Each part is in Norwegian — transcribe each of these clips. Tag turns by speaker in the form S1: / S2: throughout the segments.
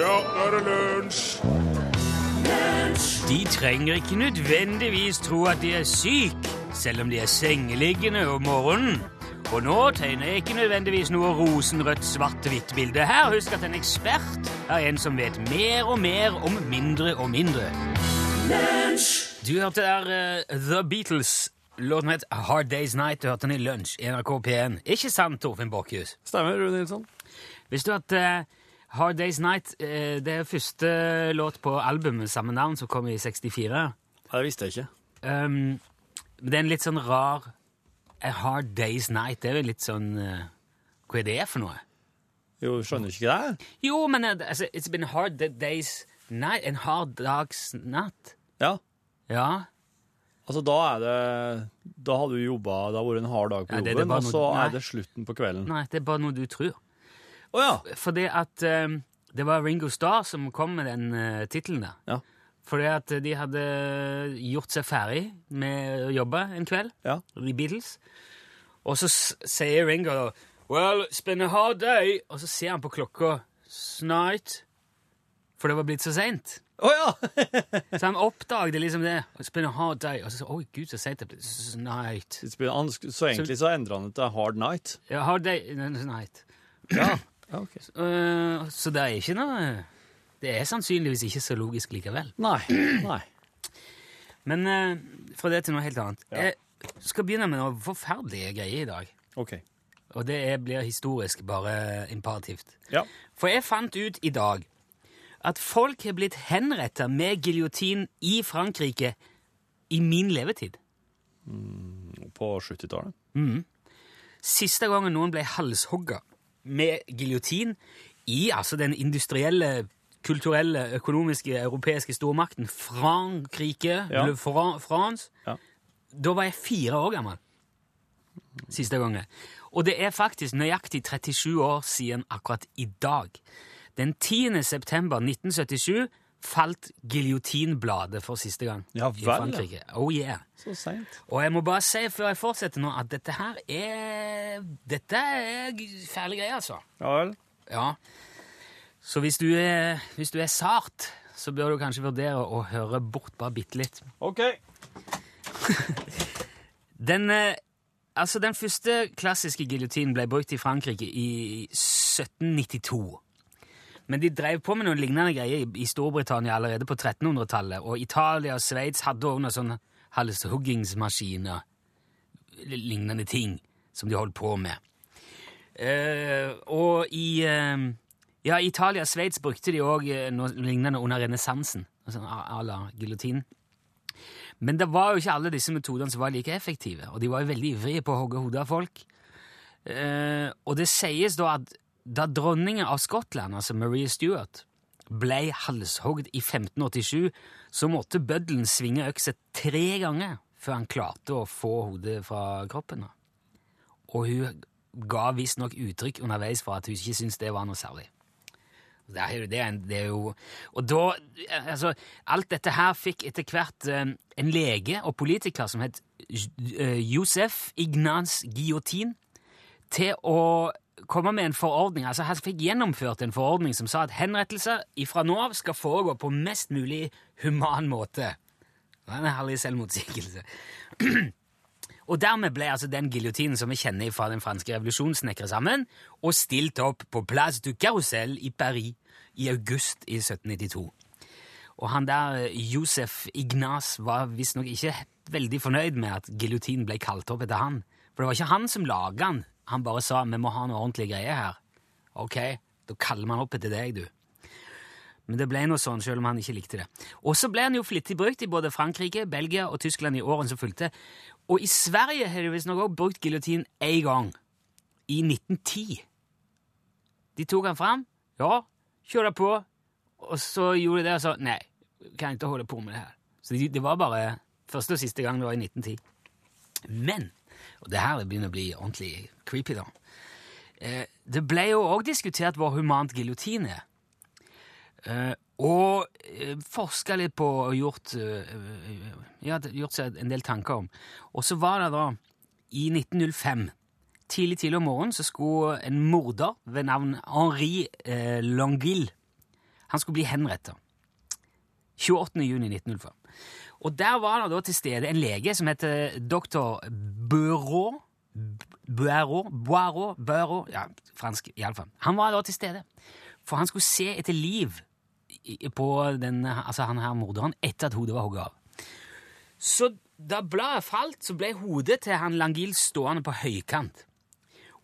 S1: Ja, nå er det lunsj!
S2: De trenger ikke nødvendigvis tro at de er syke, selv om de er sengeliggende om morgenen. Og nå tegner jeg ikke nødvendigvis noe rosenrødt svart-hvitt-bilde her. Husk at en ekspert er en som vet mer og mer om mindre og mindre. Du hørte der eh, The Beatles. Låten het Hard Day's Night. Du hørte den i lunsj i NRK P1. Ikke sant, Torfinn Borchhus?
S3: Stemmer, Rune Nilsson.
S2: Visste du at eh, Hard Day's Night eh, det er første låt på albumet med samme navn som kom i 64?
S3: Nei, det visste jeg ikke.
S2: Um, det er en litt sånn rar A hard day's night. Det er jo litt sånn eh, Hva er det for noe?
S3: Jo, skjønner du ikke det?
S2: Jo, men eh, altså, It's been a hard da- day's night. En hard dags natt.
S3: Ja.
S2: Ja.
S3: Altså, da er det Da har du jobba Det har vært en hard dag på
S2: Ja, det- det er
S3: jobben,
S2: bare
S3: og så
S2: noe- nei.
S3: er det slutten på kvelden.
S2: Nei, det er bare noe du tror.
S3: Å ja!
S2: Fordi at um, det var Ringo Starr som kom med den uh, tittelen der.
S3: Ja.
S2: Fordi at de hadde gjort seg ferdig med å jobbe en kveld.
S3: Ja.
S2: The Beatles. Og så s- sier Ringo da Well, it's been a hard day. Og så ser han på klokka Snight. For det var blitt så seint.
S3: Å ja!
S2: Så han oppdaget liksom det. It's been a hard day. Og så sa Oi, gud, så seint det ble. Snight.
S3: Det spiller- han sk- Så egentlig så endra han det til Hard Night.
S2: Ja, hard day Snight.
S3: Ja. ja ok.
S2: Eh, så det er ikke noe Det er sannsynligvis ikke så logisk likevel.
S3: Nei. Nei.
S2: Men eh, fra det til noe helt annet. Jeg skal begynne med noe forferdelige greier i dag.
S3: OK.
S2: Og det er, blir historisk, bare imperativt.
S3: Ja.
S2: For jeg fant ut i dag at folk har blitt henrettet med giljotin i Frankrike i min levetid.
S3: På 70-tallet.
S2: Siste gangen noen ble halshogget med giljotin i altså den industrielle, kulturelle, økonomiske, europeiske stormakten Frankrike,
S3: Ja.
S2: Le Fran France,
S3: Ja.
S2: da var jeg fire år gammel. Siste gangen. Og det er faktisk nøyaktig 37 år siden akkurat i dag. Den 10. september 1977 falt giljotinbladet for siste gang
S3: Ja
S2: i
S3: vel, ja.
S2: Frankrike. Oh yeah.
S3: Så seint.
S2: Og jeg må bare si før jeg fortsetter nå, at dette her er Dette er g- fæle greier, altså.
S3: Ja vel.
S2: Ja. Så hvis du er, hvis du er sart, så bør du kanskje vurdere å høre bort bare bitte litt.
S3: OK.
S2: Den, eh, altså den første klassiske giljotinen ble brukt i Frankrike i 1792. Men de drev på med noen lignende greier i, i Storbritannia allerede på 1300-tallet, og Italia og Sveits hadde også noen sånne halshuggingsmaskiner, l- lignende ting, som de holdt på med. Eh, og i eh, ja, i Italia og Sveits brukte de òg noe lignende under renessansen, altså à à la giljotinen. Men det var jo ikke alle disse metodene som var like effektive, og de var jo veldig ivrige på å hogge hodet av folk. Eh, og det sies da at da dronningen av Skottland, altså Maria Stuart, ble halshogd i 1587, så måtte bøddelen svinge øksa tre ganger før han klarte å få hodet fra kroppen. da. Og hun ga visstnok uttrykk underveis for at hun ikke syntes det var noe særlig. Det er, jo- det, er en, det er jo Og da eh, Altså, alt dette her fikk etter hvert eh, en lege og politiker som het J- eh, Josef Ignaz Guillotin, til å komme med en forordning. Altså, han fikk gjennomført en forordning som sa at henrettelser ifra nå av skal foregå på mest mulig human måte. Det er en herlig selvmotsigelse. Og dermed ble altså den giljotinen som vi kjenner fra den franske revolusjonen, snekret sammen og stilt opp på Place du Carrousel i Paris i august i 1792. Og han der eh, Josef Ignaz var visstnok ikke veldig fornøyd med at giljotinen ble kalt opp etter han. For det var ikke han som laga den. Han bare sa 'vi må ha noe ordentlig greie her'. Ok, da kaller man opp etter deg, du. Men det ble noe sånn, selv om han ikke likte det. Og så ble han jo flittig brukt i både Frankrike, Belgia og Tyskland i årene som fulgte. Og i Sverige har de visstnok også brukt giljotin én gang. I 1910. De tok han fram. Ja, kjørte på. Og så gjorde de det og sa nei, kan ikke holde på med det her. Så de, det var bare første og siste gang det var i 1910. Men Og det her begynner å bli ordentlig creepy, da. Eh, det ble jo òg diskutert hvor humant giljotin er. Eh, og eh, forska litt på og gjort, eh, eh, ja, det- gjort seg en del tanker om. Og så var det da, i 1905, tidlig tidlig om morgenen, så skulle en morder ved navn Henri eh, Longuille Han skulle bli henrettet. 28. juni 1905. Og der var det da til stede en lege som heter doktor Bureau Bureau, Bureau, Bureau Ja, fransk iallfall. Han var da til stede. For han skulle se etter liv i- på den, altså han her morderen etter at hodet var hogget av. Så da bladet falt, så ble hodet til han Langil stående på høykant.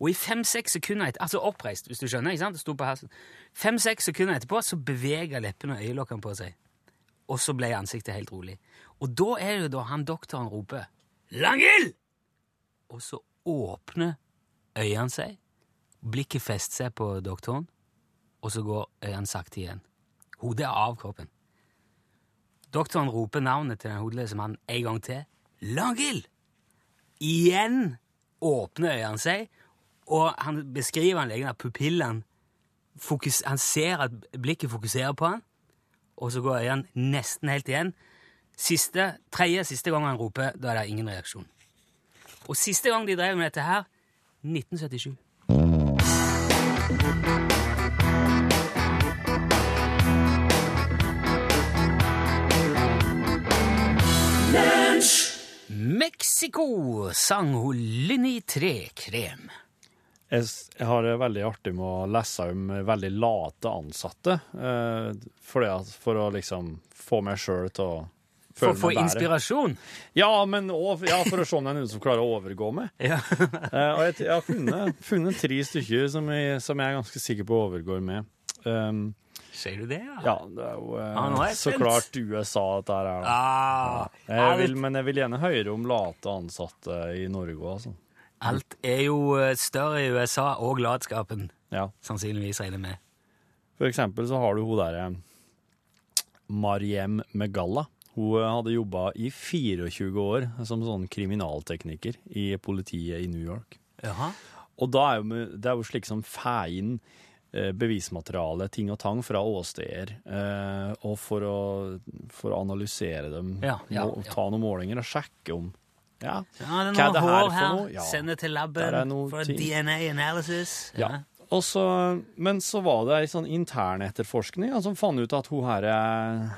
S2: Og i fem-seks sekunder etter, altså oppreist, hvis du skjønner, ikke sant? Det sto på halsen. Fem-seks sekunder etterpå så beveger leppene og øyelokkene på seg. Og så ble ansiktet helt rolig. Og da er det jo da han doktoren roper Langild! Og så åpner øynene seg, blikket fester seg på doktoren, og så går øynene sakte igjen. Hodet er av kroppen. Doktoren roper navnet til den hodeløse mannen en gang til. Langild! Igjen åpner øynene seg, og han beskriver han legen at pupillene fokus, Han ser at blikket fokuserer på han, og så går øynene nesten helt igjen. Siste, tredje siste gang han roper, da er det ingen reaksjon. Og siste gang de drev med dette her, 1977. Mexico sang hun Linni Trekrem.
S3: Jeg, s- jeg har det veldig artig med å lese om veldig late ansatte. Eh, fordi at, for å liksom få meg sjøl til å
S2: For
S3: føle
S2: å få
S3: meg bedre.
S2: inspirasjon.
S3: Ja, men òg ja, for å se om det er noen som klarer å overgå meg.
S2: Ja.
S3: Eh, og jeg, jeg har funnet, funnet tre stykker som jeg, som jeg er ganske sikker på overgår med. Um,
S2: Sier du det,
S3: ja, det er jo eh,
S2: Ah, nå er jeg
S3: så
S2: spent.
S3: klart USA dette her er. da.
S2: Ah,
S3: Jeg vil,
S2: alt,
S3: men jeg vil gjerne høre om late ansatte i Norge òg, altså.
S2: alt er jo eh, større i USA, og latskapen,
S3: Ja.
S2: sannsynligvis, regner jeg med.
S3: For eksempel så har du hun derre Mariem Megalla. Hun eh, hadde jobba i 24 år som sånn kriminaltekniker i politiet i New York.
S2: Jaha.
S3: Og da er jo, med- det er jo slik som fær inn eh, bevismateriale, ting og tang, fra åsteder, eh, og for å, for å analysere dem,
S2: Ja, ja,
S3: må-
S2: ja.
S3: ta noen målinger og sjekke om ja,
S2: Ja, det er
S3: Hva er
S2: noe
S3: det her
S2: hår
S3: for
S2: her.
S3: noe? Ja.
S2: Send det til
S3: Der er
S2: laben
S3: noe
S2: for
S3: ting.
S2: DNA analysis.
S3: Ja. Og så, men så var det ei sånn intern etterforskning da, som fant ut at hun her eh,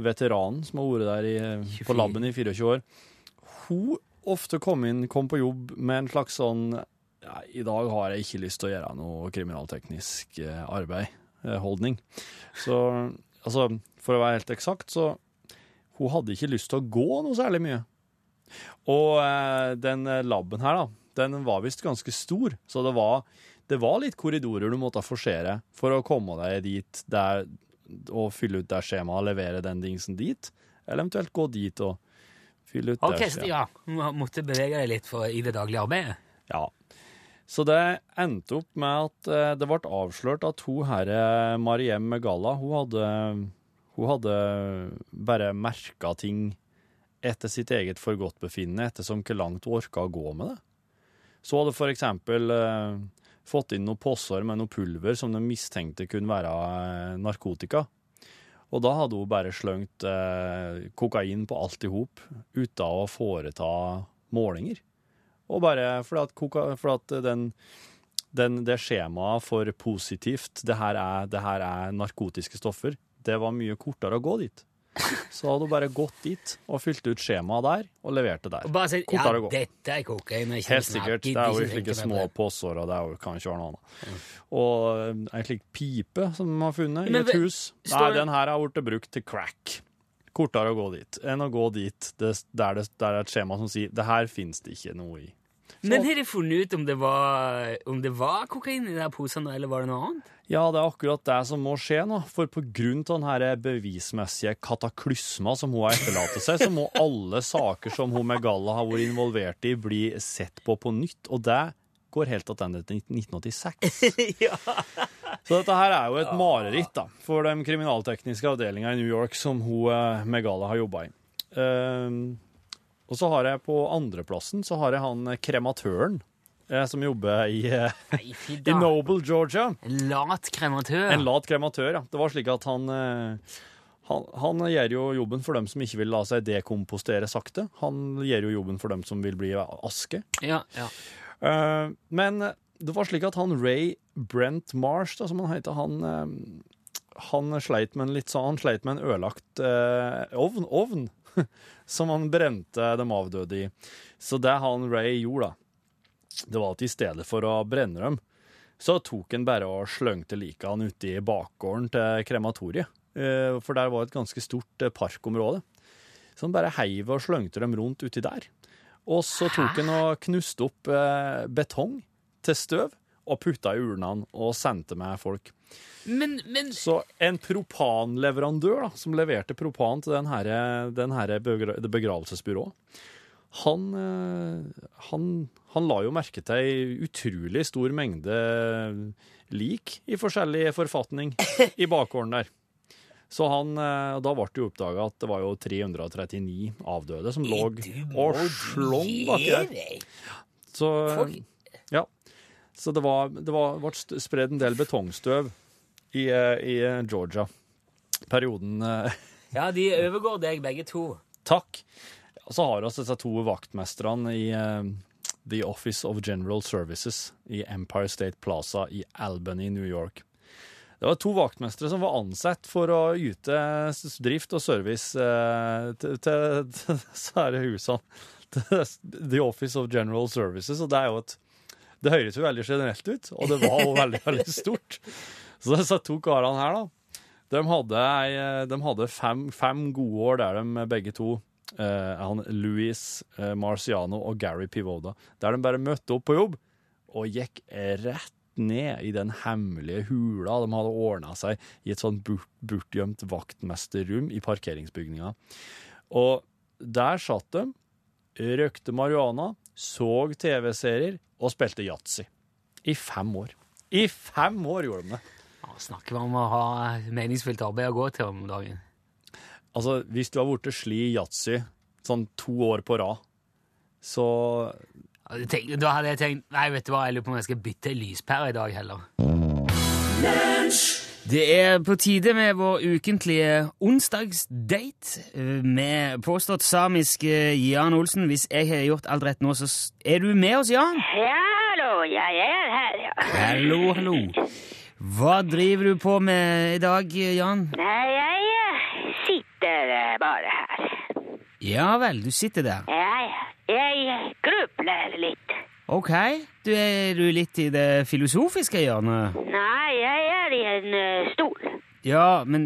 S3: veteranen som har vært der i, eh, på
S2: 24.
S3: labben i 24 år, hun ofte kom inn, kom på jobb med en slags sånn ja, I dag har jeg ikke lyst til å gjøre noe kriminalteknisk eh, arbeid. eh, Holdning. Så altså, for å være helt eksakt, så Hun hadde ikke lyst til å gå noe særlig mye. Og eh, den eh, labben her, da, den var visst ganske stor, så det var, det var litt korridorer du måtte forsere for å komme deg dit der, og fylle ut det skjemaet, levere den dingsen dit, eller eventuelt gå dit og fylle ut
S2: Ok,
S3: det
S2: så ja, må- måtte bevege deg litt for, i det daglige arbeidet.
S3: Ja. Så det endte opp med at eh, det ble avslørt at hun herre Mariem Megalla, hun hadde, hun hadde bare merka ting etter sitt eget forgodtbefinnende, ettersom hvor langt hun orka å gå med det. Så hun hadde for eksempel eh, fått inn noen posser med noe pulver som de mistenkte kunne være eh, narkotika. Og da hadde hun bare slengt eh, kokain på alt i hop uten å foreta målinger. Og bare fordi at, koka, fordi at den, den, det skjemaet for positivt, det her, er, det her er narkotiske stoffer, det var mye kortere å gå dit. Så hadde hun bare gått dit og fylt ut skjemaet der og levert det der.
S2: Og bare si ja,
S3: Kortere å gå.
S2: dette er kokain. og ikke liksom
S3: Helt
S2: snakk,
S3: sikkert. Det
S2: gidder
S3: er jo
S2: ikke
S3: slike
S2: tenke
S3: små
S2: mer på det. Mm.
S3: poser, og det er jo, kan ikke være noe annet. Og eh, en slik pipe som de har funnet
S2: Men
S3: i et
S2: ve-
S3: hus.
S2: står
S3: Nei,
S2: det-
S3: den her har blitt brukt til crack. Kortere å gå dit enn å gå dit det, der, det, der er et skjema som sier det her finnes det ikke noe i.
S2: Men har de funnet ut om det var, om det var kokain i de her posene, eller var det noe annet?
S3: Ja, det er akkurat det som må skje nå, for på grunn av den her bevismessige kataklysma som hun har etterlatt seg, så må alle saker som hun med Galla har vært involvert i, bli sett på på nytt, og det går helt tilbake til 1986.
S2: ja.
S3: Så dette her er jo et mareritt da, for den kriminaltekniske avdelinga i New York som hun eh, Megala har jobba i. Ehm, og så har jeg på andreplassen så har jeg han eh, krematøren eh, som jobber i, eh,
S2: Nei, fy
S3: i
S2: da.
S3: Noble, Georgia.
S2: Lat krematør.
S3: En lat krematør, ja. Det var slik at han, eh, han Han gjør jo jobben for dem som ikke vil la seg dekompostere sakte. Han gjør jo jobben for dem som vil bli aske.
S2: Ja, ja.
S3: Eh, men det var slik at han Ray Brent Marsh, da, som han heter, han, eh, han sleit med en litt sånn, han sleit med en ødelagt eh, ovn, ovn som han brente de avdøde i. Så det han Ray gjorde, da, det var at i stedet for å brenne dem, så tok han bare og slengte likene ute i bakgården til krematoriet. Eh, for der var et ganske stort eh, parkområde. Så han bare heiv og slengte dem rundt uti der. Og så tok han og knuste opp eh, betong til støv og putta i urnene og sendte med folk.
S2: Men, men
S3: Så en propanleverandør da, som leverte propan til den her, den her begra det begravelsesbyrået, han, eh, han, han la jo merke til ei utrolig stor mengde lik i forskjellig forfatning i bakgården der. Så han, eh, Da ble det jo oppdaga at det var jo 339 avdøde som lå og slong baki der. Så,
S2: Folk-
S3: ja. Så det var, det var, ble st- spredd en del betongstøv i, eh, i Georgia. Perioden eh,
S2: Ja, de overgår deg begge to.
S3: Takk. Og så har vi disse to vaktmesterne i eh, The Office of General Services i Empire State Plaza i Albany, New York. Det var to vaktmestere som var ansatt for å yte s- drift og service eh, til, til, til disse her husene. Til The Office of General Services, og det er jo et Det høres jo veldig generelt ut, og det var jo veldig, veldig stort. Så disse to karene her, da. De hadde, ei- eh, de hadde fem, fem gode år der de begge to eh, han Louis eh, Marciano og Gary Pivoda. Der de bare møtte opp på jobb og gikk rett ned i den hemmelige hula de hadde ordna seg i et sånn bort, bortgjemt vaktmesterrom i parkeringsbygninga. Og der satt de, røkte marihuana, så TV-serier og spilte yatzy. I fem år. I fem år gjorde de det!
S2: Ja, snakker vi om å ha meningsfylt arbeid å gå til om dagen.
S3: Altså, hvis du har vært sli i yatzy sånn to år på rad, så
S2: Ja, jeg tenk- Da hadde jeg tenkt Nei, vet du hva, jeg lurer på om jeg skal bytte lyspære i dag heller. Det er på tide med vår ukentlige onsdagsdate eh, med påstått samisk eh, Jan Olsen. Hvis jeg har gjort alt rett nå, så s- er du med oss, Jan?
S4: Ja, hallo, jeg er her, ja.
S2: Hallo, hallo. Hva driver du på med i dag, Jan?
S4: Nei, jeg eh, sitter eh, bare her.
S2: Ja vel, du sitter der.
S4: Jeg, jeg grubler litt.
S2: Ok, du er du litt i det filosofiske hjørnet.
S4: Nei, jeg er i en eh, stol.
S2: Ja, men,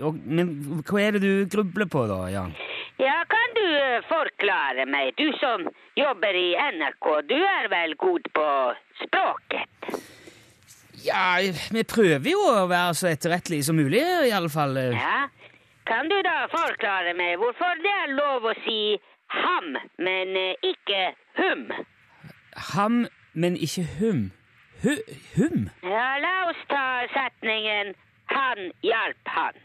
S2: og, men hva er det du grubler på da, Jan?
S4: Ja, kan du eh, forklare meg, du som jobber i NRK, du er vel god på språket?
S2: Ja, vi prøver jo å være så etterrettelige som mulig, i alle fall.
S4: Ja, kan du da forklare meg hvorfor det er lov å si ham, men eh, ikke hum?
S2: Ham, men ikke hum. Hu, hum?
S4: Ja, la oss ta setningen han hjalp han.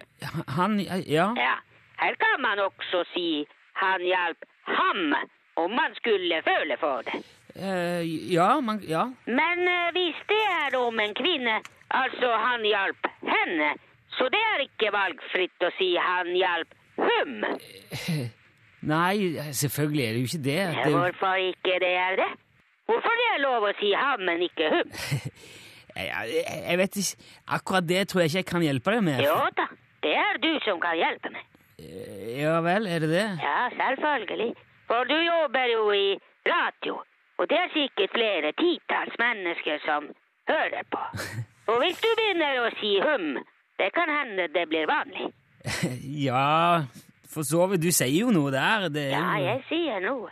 S2: Han, ja.
S4: Ja, her kan man også si han hjalp ham om man skulle føle for det.
S2: eh, Ja, man, ja.
S4: Men eh, hvis det er om en kvinne, altså han hjalp henne, så det er ikke valgfritt å si han hjalp hum.
S2: Nei, selvfølgelig er det jo ikke det.
S4: Ja,
S2: det er jo-
S4: Hvorfor ikke det er det? Hvorfor det er lov å si ham, men ikke hum?
S2: jeg, jeg, jeg vet ikke Akkurat det tror jeg ikke jeg kan hjelpe deg med.
S4: Jo da, det er du som kan hjelpe meg.
S2: Eh, Ja vel, er det det?
S4: Ja, selvfølgelig. For du jobber jo i radio, og det er sikkert flere titalls mennesker som hører på. Og hvis du begynner å si hum, det kan hende det blir vanlig.
S2: Ja, for så vidt. Du sier jo noe der. Det er
S4: Ja,
S2: jo-
S4: jeg sier noe.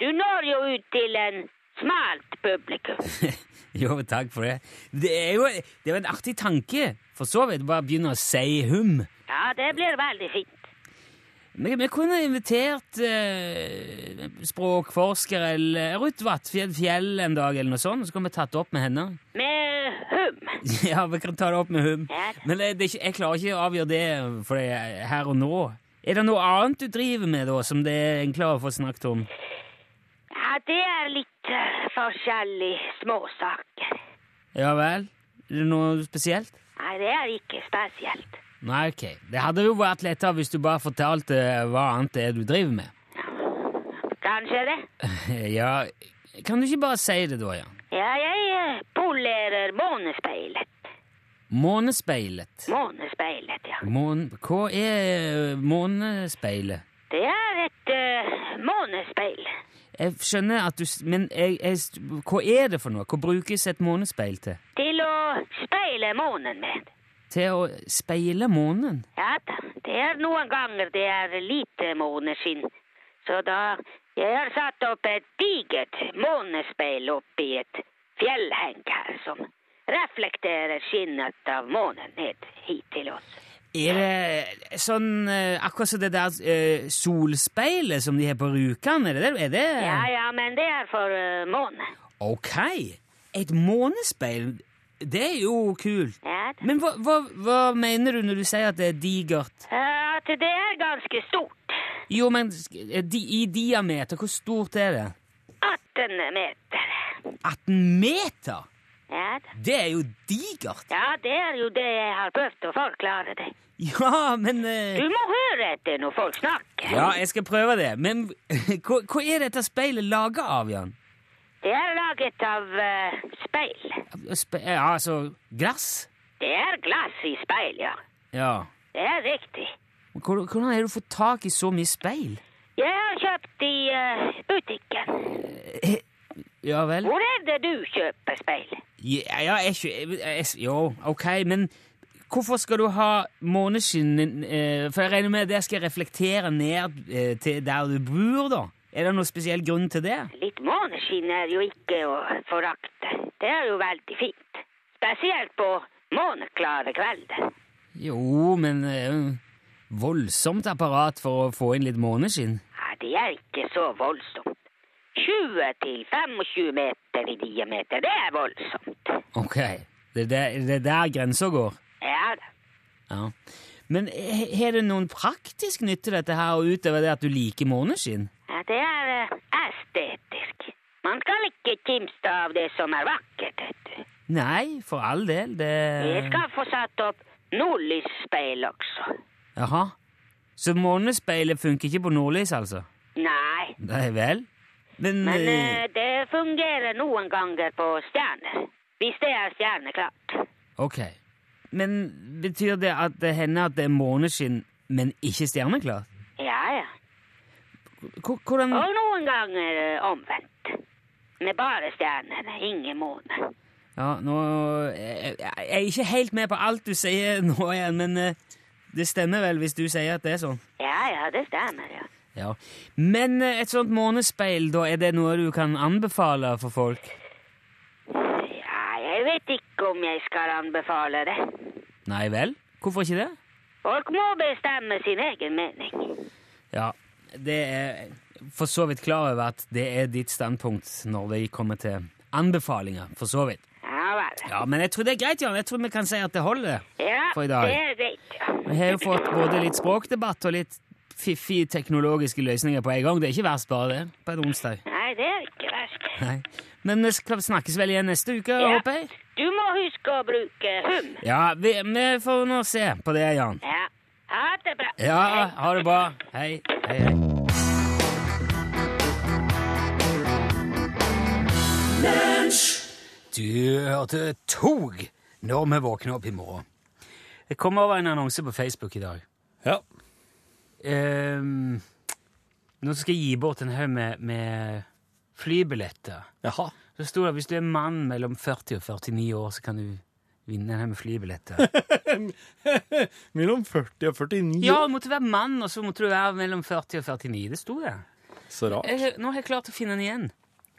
S4: Du når jo ut til en smalt publikum.
S2: Jo, takk for det. Det er jo det er jo en artig tanke, for så vidt. Bare begynne å si hum.
S4: Ja, det blir veldig fint.
S2: Vi, vi kunne invitert eh, språkforsker eller Ruth Vatfjell Fjell en dag, eller noe sånt, så kunne vi tatt det opp med henne.
S4: Med hum.
S2: Ja, vi kan ta det opp med hum.
S4: Ja.
S2: Men det, det er ikke, jeg klarer ikke å avgjøre det for det er her og nå. Er det noe annet du driver med, da, som det er enklere å få snakket om?
S4: Ja, det er litt eh, forskjellig småsaker.
S2: Ja vel? Er det noe spesielt?
S4: Nei, det er ikke spesielt.
S2: Nei, ok. Det hadde jo vært lettere hvis du bare fortalte hva annet det er du driver med.
S4: Kanskje det?
S2: Ja, kan du ikke bare si det da, Jan?
S4: Ja, jeg eh, polerer månespeilet.
S2: Månespeilet.
S4: Månespeilet, ja.
S2: Mån... Hva er eh, månespeilet?
S4: Det er et eh, månespeil.
S2: Jeg skjønner at du s- Men jeg, jeg, st- hva er det for noe? Hva brukes et månespeil til?
S4: Til å speile månen med.
S2: Til å speile månen?
S4: Ja da, det er noen ganger det er lite måneskinn. Så da Jeg har satt opp et digert månespeil oppi et fjellheng her som reflekterer skinnet av månen ned hit til oss.
S2: Er det sånn eh, Akkurat som det der eh, solspeilet som de har på Rjukan? Er det det? Er det
S4: Ja ja, men det er for eh, månen.
S2: Ok! Et månespeil, det er jo kult.
S4: Ja da.
S2: Men hva, hva, hva mener du når du sier at det er digert?
S4: Eh, At det er ganske stort.
S2: Jo, men sk- eh, di, i diameter, hvor stort er det?
S4: 18 meter.
S2: 18 meter?
S4: Ja da.
S2: Det er jo digert!
S4: Ja, det er jo det jeg har prøvd å forklare deg.
S2: Ja, men eh,
S4: Du må høre etter når folk snakker.
S2: Ja, jeg skal prøve det, men hva, hva er dette speilet laga av, Jan?
S4: Det er laget av eh, speil.
S2: Spe, ja, altså glass?
S4: Det er glass i speil, ja.
S2: Ja.
S4: Det er riktig.
S2: Men hvor- Hvordan har du fått tak i så mye speil?
S4: Jeg har kjøpt i eh, butikken.
S2: Ja vel?
S4: Hvor er det du kjøper speil?
S2: Ja, ja jeg, skjø- jeg, jeg, jo, ok, men hvorfor skal du ha måneskinn eh, For jeg regner med det skal reflektere ned eh, til der du bor, da? Er det noen spesiell grunn til det?
S4: Litt måneskinn er jo ikke å forakte. Det er jo veldig fint. Spesielt på måneklare kvelder.
S2: Jo, men det er jo Voldsomt apparat for å få inn litt måneskinn.
S4: Ja, det er ikke så voldsomt. 20-25 meter i diameter, det er voldsomt.
S2: Ok, det er der, det er der grensa går.
S4: Ja da.
S2: Ja. Men he- har det noen praktisk nytte, dette her, utover det at du liker måneskinn?
S4: Ja, det er eh, estetisk. Man skal ikke kimste av det som er vakkert, vet du.
S2: Nei, for all del,
S4: Vi
S2: det
S4: skal få satt opp nordlysspeil også.
S2: Jaha. Så månespeilet funker ikke på nordlys, altså?
S4: Nei,
S2: Nei vel? Men,
S4: men eh,
S2: eh,
S4: det fungerer noen ganger på stjerner. Hvis det er stjerneklart.
S2: Ok. Men betyr det at det hender at det er måneskinn, men ikke stjerneklart?
S4: Ja, ja.
S2: Hvor- Hvordan
S4: Og noen ganger eh, omvendt. Med bare stjerner, ingen måne.
S2: Ja, nå jeg, jeg jeg er ikke helt med på alt du sier nå igjen, men eh, det stemmer vel hvis du sier at det er sånn?
S4: Ja, ja, det stemmer, ja.
S2: Ja. Men eh, et sånt månespeil, da, er det noe du kan anbefale for folk?
S4: Ja, jeg vet ikke om jeg skal anbefale det.
S2: Nei vel? Hvorfor ikke det?
S4: Folk må bestemme sin egen mening.
S2: Ja, det er for så vidt klar over at det er ditt standpunkt når vi kommer til anbefalinger, for så vidt.
S4: Ja vel.
S2: Ja, men jeg tror det er greit, Jan. Jeg tror vi kan si at det holder.
S4: Ja,
S2: For i dag.
S4: det er greit. ja.
S2: Vi har jo fått både litt språkdebatt og litt fiffige teknologiske løsninger på en gang. Det er ikke verst bare det, på en onsdag.
S4: Nei, det er ikke verst.
S2: Nei. Men vi skal- snakkes vel igjen neste uke,
S4: Ja.
S2: håper jeg?
S4: Du må huske å bruke hum.
S2: Ja, vi, vi får nå se på det, Jan.
S4: Ja. Ha det bra.
S2: Ja, ha det bra. Hei. Hei, hei. Du hørte tog når vi våkner opp i morgen. Jeg kom over en annonse på Facebook i dag.
S3: Ja.
S2: Ehm, nå skal jeg gi bort en haug med, med flybilletter.
S3: Jaha.
S2: Så sto det at hvis du er mann mellom 40 og 49 år, så kan du vinne en haug med flybilletter.
S3: Mellom 40 og 49.
S2: ja, du måtte være mann, og så måtte du være mellom 40 og 49. Det sto det.
S3: Så rart.
S2: jeg, har- nå har jeg klart å finne den igjen.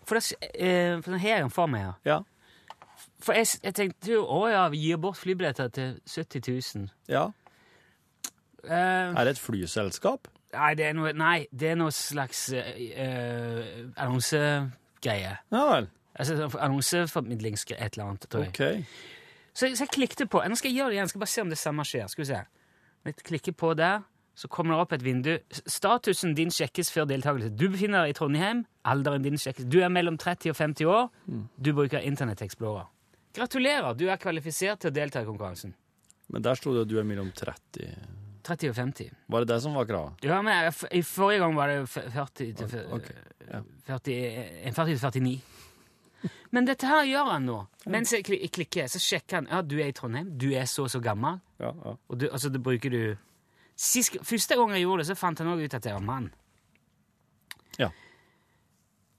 S2: For, det, s- eh, for den har jeg den for meg her.
S3: Ja.
S2: For jeg, s- jeg tenkte jo å ja, vi gir bort flybilletter til 70 000.
S3: ja.
S2: Eh,
S3: Er det et flyselskap?
S2: nei, det er noe, nei, det er noe slags eh, eh, annonsegreie.
S3: Ja vel.
S2: Altså sånn for- annonseformidlingsgreie, et eller annet. Tror jeg.
S3: OK.
S2: Så, jeg- så jeg klikket på. Nå skal jeg gjøre det igjen, skal bare se om det samme skjer. Skal vi se. Jeg klikker på der, så kommer det opp et vindu. S- Statusen din sjekkes før deltakelse. Du befinner deg i Trondheim. Alderen din sjekkes. Du er mellom 30 og 50 år. Du bruker Internett Explorer. Gratulerer, du er kvalifisert til å delta i konkurransen.
S3: Men der sto det at du er mellom 30
S2: 30 og 50.
S3: Var det det som var kravet?
S2: Ja, men jeg, f- I forrige gang var det f- 40 til f-
S3: Ok, ja.
S2: 40, eh, 40 til 49. Men dette her gjør han nå. Mens jeg kli- jeg klikker, så sjekker han. Ja, du er i Trondheim. Du er så og så gammel.
S3: Ja, ja.
S2: Og du, altså, det bruker du Sist, Første gang jeg gjorde det, så fant han også ut at jeg var mann.
S3: Ja.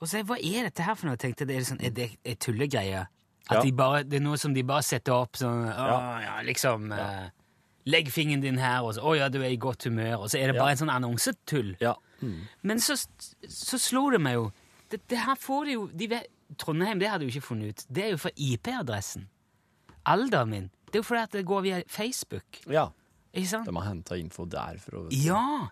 S2: Og så jeg, Hva er dette her for noe? Jeg tenkte, det Er sånn, er det er tullegreier? At
S3: Ja.
S2: de bare, det er noe som de bare setter opp sånn å, ja, liksom eh, Legg fingeren din her, og så Å ja, du er i godt humør. Og så er det bare en sånn annonsetull.
S3: ja.
S2: Men så, så slo det meg jo det, det her får de jo de vet, Trondheim det hadde jeg jo ikke funnet ut. Det er jo fra IP-adressen. Alderen min. Det er jo fordi at det går via Facebook.
S3: ja.
S2: Ikke sant?
S3: De har henta info derfra. vet du.
S2: Ja!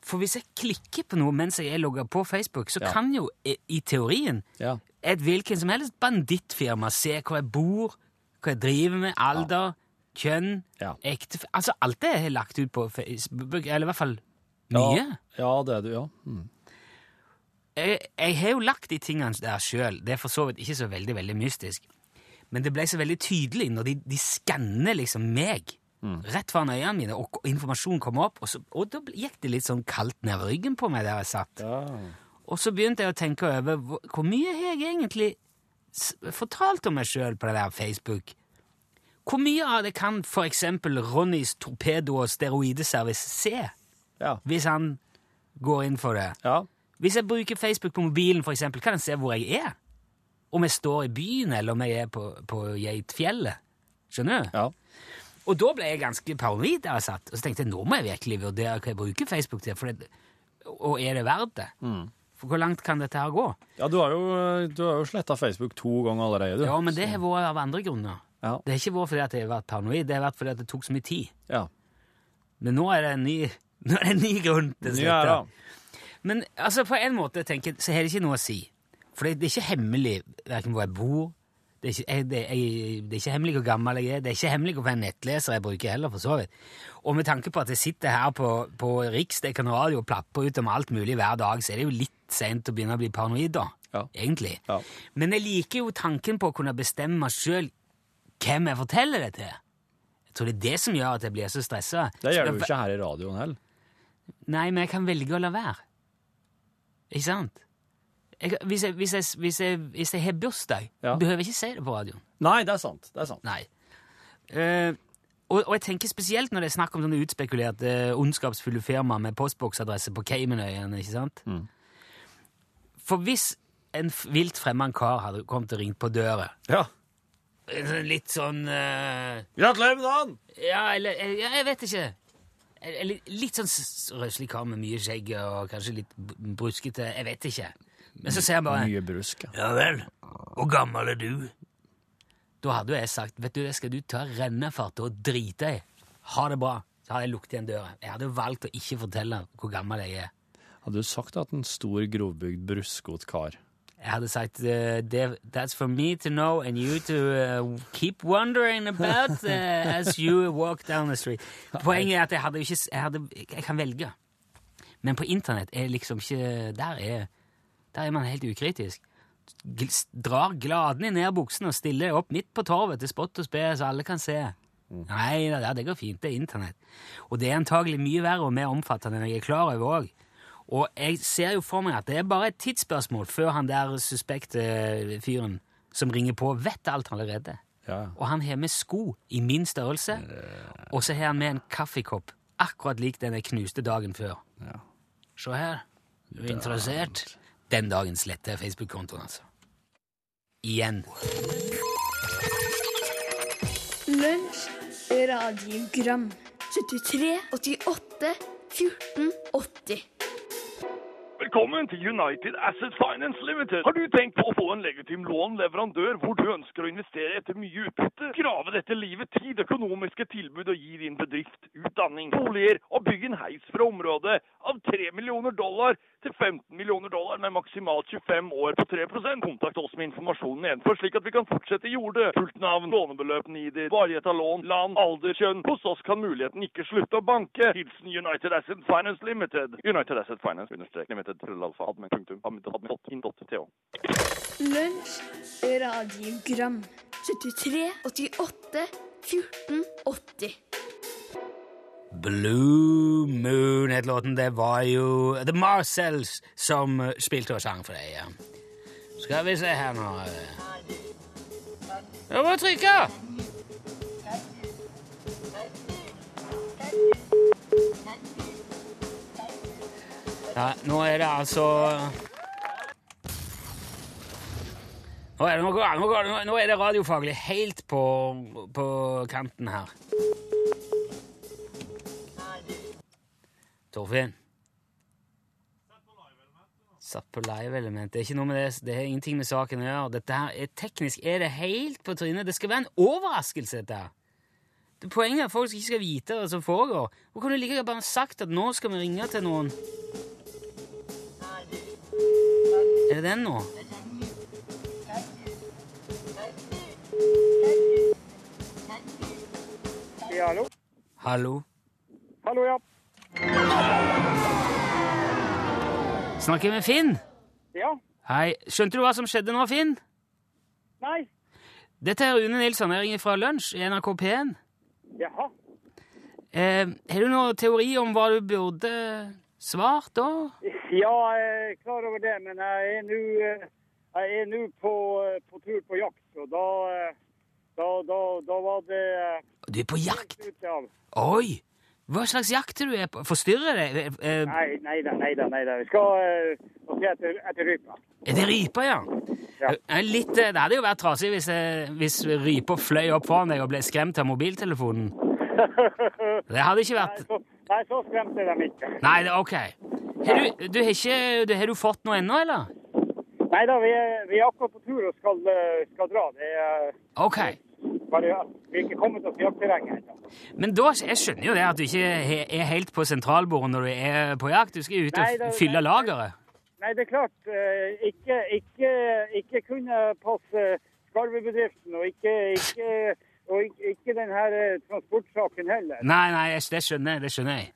S2: For hvis jeg klikker på noe mens jeg er logga på Facebook, så
S3: Ja.
S2: kan jo i i teorien
S3: Ja.
S2: et hvilken som helst bandittfirma se hvor jeg bor, hva jeg driver med, alder, kjønn,
S3: Ja.
S2: ektefelle Altså alt det jeg har lagt ut på Facebook, eller i hvert fall mye.
S3: Ja, det er du, ja. Mm.
S2: Jeg, jeg har jo lagt de tingene der sjøl. Det er for så vidt ikke så veldig veldig mystisk. Men det ble så veldig tydelig når de, de skanner liksom meg rett foran øynene mine, og k- informasjon kom opp, og, så, og da ble- gikk det litt sånn kaldt nedover ryggen på meg der jeg satt.
S3: ja.
S2: Og så begynte jeg å tenke over hvor, hvor mye har jeg egentlig s- fortalt om meg sjøl på det der Facebook. Hvor mye av det kan for eksempel Ronnys torpedo- og steroideservice se,
S3: Ja.
S2: hvis han går inn for det?
S3: ja.
S2: Hvis jeg bruker Facebook på mobilen, for eksempel, kan jeg se hvor jeg er. Om jeg står i byen, eller om jeg er på, på Geitfjellet. Skjønner du?
S3: ja.
S2: Og da ble jeg ganske paranoid der jeg satt. Og så tenkte jeg nå må jeg virkelig vurdere hva jeg bruker Facebook til. For det, og er det verdt det? For hvor langt kan dette her gå?
S3: Ja, du har jo, du har jo sletta Facebook to ganger allerede, du.
S2: Ja, men det har vært av andre grunner.
S3: Ja.
S2: Det har ikke vært fordi at jeg har vært paranoid, det har vært fordi at det tok så mye tid.
S3: ja.
S2: Men nå er det en ny, nå er det en ny grunn til å
S3: Ny
S2: slette.
S3: æra.
S2: Men altså, på en måte tenker jeg, så har det ikke noe å si. For det, det er ikke hemmelig hverken hvor jeg bor, det er, ikke, jeg, det, jeg, det er ikke hemmelig hvor gammel jeg er, det er ikke hemmelig hvor mange nettleser jeg bruker heller, for så vidt. Og med tanke på at jeg sitter her på, på Riksdekken radio og plapper ut om alt mulig hver dag, så er det jo litt sent å begynne å bli paranoid da,
S3: Ja.
S2: egentlig.
S3: Ja.
S2: Men jeg liker jo tanken på å kunne bestemme sjøl hvem jeg forteller det til. Jeg tror det er det som gjør at jeg blir så stressa.
S3: Det gjør du jo ikke her i radioen heller.
S2: Nei, men jeg kan velge å la være. Ikke sant? Jeg, hvis, jeg, hvis, jeg, hvis, jeg, hvis jeg har bursdag,
S3: Ja.
S2: behøver jeg ikke si det på radioen.
S3: Nei, det er sant. Det er sant.
S2: Nei. Eh, og, og jeg tenker spesielt når det er snakk om sånne utspekulerte, eh, ondskapsfulle firma med postboksadresse på Caymanøyene, ikke sant? For hvis en f- vilt fremmed kar hadde kommet og ringt på døra
S3: Ja.
S2: en sånn Litt sånn eh,
S3: Gratulerer med dagen!
S2: Ja, eller eh, ja, Jeg vet ikke. Eller litt sånn s- røslig kar med mye skjegg og kanskje litt b- bruskete. Jeg vet ikke. Men så sier han bare
S3: Mye brusk. ja.
S2: Ja vel, hvor gammel er du? Da hadde jo jeg sagt Vet du det, skal du ta rennefart og drite deg. Ha det bra. Så hadde jeg lukket igjen døra. Jeg hadde valgt å ikke fortelle hvor gammel jeg er.
S3: Hadde du sagt at en stor, grovbygd, bruskete kar
S2: Jeg hadde sagt eh, det- That's for me to know and you to eh, keep wondering about eh, as you walk down the street. Poenget er at jeg hadde jo ikke s- jeg, hadde, jeg kan velge. Men på internett er liksom ikke Der er, der er man helt ukritisk. Gl- s- Drar gladelig ned buksen og stiller opp midt på torvet til spott og spe, så alle kan se. Nei da, det går fint. Det er internett. Og det er antagelig mye verre og mer omfattende enn jeg er klar over òg. Og jeg ser jo for meg at det er bare et tidsspørsmål før han der suspekte fyren som ringer på, vet alt allerede.
S3: Ja, ja.
S2: Og han har med sko i min størrelse, og så har han med en kaffekopp akkurat lik den jeg knuste dagen før.
S3: Ja.
S2: Se her, du er interessert. Den dagen sletter jeg Facebook-kontoen, altså. Igjen.
S5: Lunsj, radiogram 73, 88, 14, 80
S6: Velkommen til United Asset Finance Limited. Har du tenkt på å få en legitim lånleverandør hvor du ønsker å investere etter mye utbytte? Grave dette livet tid, økonomiske tilbud og gi din bedrift utdanning, boliger og bygg en heis fra området av 3 millioner dollar til 15 millioner dollar med maksimalt 25 år på 3 Kontakt oss med informasjonen nedenfor, slik at vi kan fortsette i jordet. Fullt navn, lånebeløp, nider, varighet av lån, land, alder, kjønn. Hos oss kan muligheten ikke slutte å banke. Hilsen United Asset Finance Limited. United Asset Finance understrek limited. Trøllalfa admin. Punktum. Admin. Admin. dot in dot TH.
S5: Lunsj, radiogram 73, 88, 14, 80
S2: Blue Moon het låten. Det var jo The Marcells som eh, spilte og sang for deg. ja. Så Skal vi se her nå Jeg må trykke! Ja, nå er det altså Nå er det, noe, nå går det- nå er det radiofaglig helt på, på kanten her. Torfinn? Satt på live-element. Det er ikke noe med det, det har ingenting med saken å gjøre. Dette her er teknisk. Er det helt på trynet? Det skal være en overraskelse, dette her. Det er Poenget er at folk ikke skal vite hva som foregår. Hvor kunne du like godt bare sagt at nå skal vi ringe til noen? Er det den nå?
S7: hallo?
S2: Hallo?
S7: Hallo, ja.
S2: Snakker jeg med Finn?
S7: Ja.
S2: Hei. Skjønte du hva som skjedde nå, Finn?
S7: Nei.
S2: Dette er Rune Nilsson. Jeg ringer fra lunsj i NRK P1.
S7: Jaha.
S2: Eh, har du noen teori om hva du burde svart da?
S7: Ja, jeg er klar over det, men jeg er nå eh, jeg er nå på, eh, på tur på jakt, og da, eh, da, da, da var det eh,
S2: Du er på jakt!
S7: helt ute av.
S2: Oi! Hva slags jakt er du er på? Forstyrrer det? Eh, eh,
S7: Nei, nei da, nei da. nei da. Vi skal eh, og se etter, etter rypa.
S2: Er det ryper, ja?
S7: Ja.
S2: Eh, Litt, eh, det hadde jo vært trasig hvis, eh, hvis ryper fløy opp foran deg og ble skremt av mobiltelefonen. Det hadde ikke
S7: Nei,
S2: vært
S7: så, nei, så skremte de ikke.
S2: Nei, det- ok. Har du, du, har ikke, du, har du fått noe ennå, eller?
S7: Nei da, vi er, vi er akkurat på tur og skal, eh, skal dra. Det er eh,
S2: Ok.
S7: bare at vi er ikke kommet oss i jaktterrenget ennå.
S2: Men da, jeg skjønner jo det at du ikke he- er helt på sentralbordet når du er på jakt. Du skal ut
S7: Nei,
S2: og
S7: det-
S2: f- fylle
S7: det-
S2: lageret.
S7: Nei, det er klart. eh, Ikke, ikke, ikke kunne passe skarvebedriften, og ikke, ikke, og ikke, ikke den her eh, transportsaken heller.
S2: Nei, nei, jeg- det skjønner jeg. Det skjønner jeg.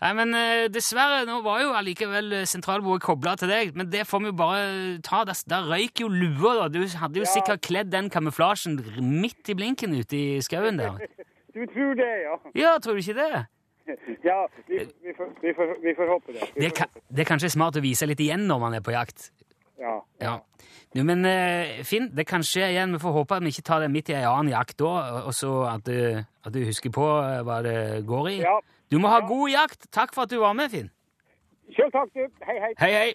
S2: Nei, men eh, dessverre, nå var jo allikevel eh, sentralbordet kobla til deg, men det får vi jo bare ta. Der, der røyk jo lua, da. Du hadde jo sikkert kledd den kamuflasjen r- midt i blinken ute i skauen der.
S7: Du tror det, ja?
S2: Ja, tror du ikke det?
S7: Ja, vi, vi, får, vi, får, vi får håpe det. Vi
S2: Det er,
S7: får
S2: ka-
S7: håpe
S2: det er kanskje smart å vise litt igjen når man er på jakt.
S7: Ja.
S2: Ja. Jo, men eh, Finn, det kan skje igjen. Vi får håpe at vi ikke tar det midt i ei annen jakt da, og så at du, at du husker på eh, hva det går i.
S7: Ja.
S2: Du må ha god jakt! Takk for at du var med, Finn.
S7: Sjøl takk, du. Hei, hei.
S2: Hei, hei!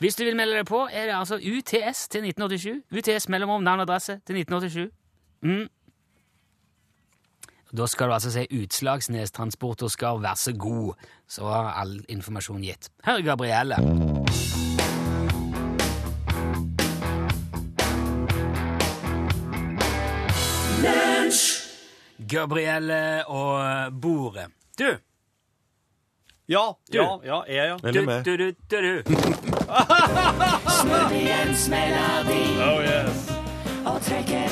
S2: Hvis du vil melde deg på, er det altså UTS til 1987. UTS mellomrom navn og adresse til 1987. Mm. Da skal du altså si Utslagsnes Transporter skal være så god. Så er all informasjon gitt. Her er Gabrielle. Gabrielle og Bore. Du!
S3: Ja, ja, ja, jeg, ja.
S1: Eller meg.
S2: Du, du, du, du, du.
S3: Oh, yes.
S2: Jeg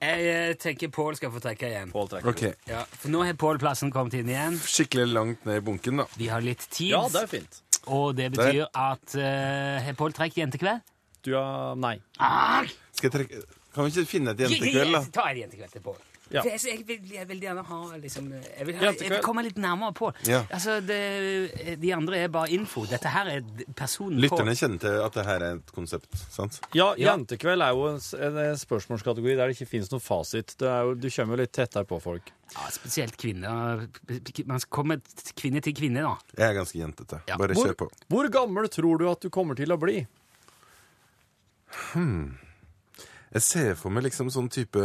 S2: eh, tenker Pål skal få trekke igjen.
S1: Ok,
S2: Ja, for nå har Pål plassen kommet inn igjen.
S1: skikkelig langt ned i bunken da.
S2: Vi har litt tid,
S3: Ja, det er fint.
S2: og det betyr at eh, Har Pål trekk igjen til kveld?
S3: Du er Nei.
S1: Skal jeg trekke... Kan vi ikke finne et jentekveld da?
S2: Jeg- jeg- Ta en jentekveld til Pål.
S3: Ja.
S2: For Jeg, jeg, vil, jeg vil gjerne ha liksom, jeg, vil, ha- jeg vil
S3: Jentekveld.
S2: komme litt nærmere Pål.
S1: Ja.
S2: Altså, det, de andre er bare info. Dette her er d- personen
S1: Lytterne
S2: Pål.
S1: kjenner til at det her er et konsept, sant?
S3: Ja,
S2: Ja.
S3: Jentekveld er jo en, s- en eh, spørsmålskategori der det ikke finnes noen fasit. Det er jo, du kommer jo litt tettere på folk.
S2: Ja, spesielt kvinner. Man kommer t- kvinne til kvinne, da.
S1: Jeg er ganske jentete.
S2: Ja.
S1: Bare
S3: Hvor,
S1: kjør på.
S3: hvor gammel tror du at du kommer til å bli?
S1: Jeg ser for meg liksom sånn type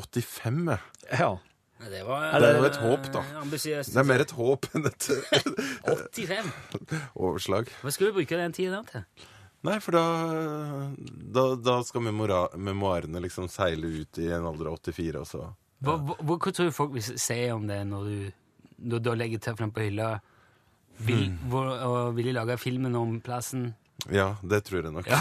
S1: 85. jeg.
S3: Ja.
S2: Det var,
S1: Det er jo et håp, da.
S2: eh, Ambisiøst.
S1: Det er mer et håp enn et eh,
S2: 85.
S1: overslag.
S2: Hva skal du bruke den tida der til?
S1: Nei, for da, da, da skal memora, memoarene liksom seile ut i en alder av 84, og så
S2: Hva, hva, hva hva tror du folk vil si om det når du, når du legger tøflene på hylla vil,
S1: Hmm.
S2: hvor, og vil de lage filmen om plassen?
S1: Ja, det tror jeg nok.
S2: Ja,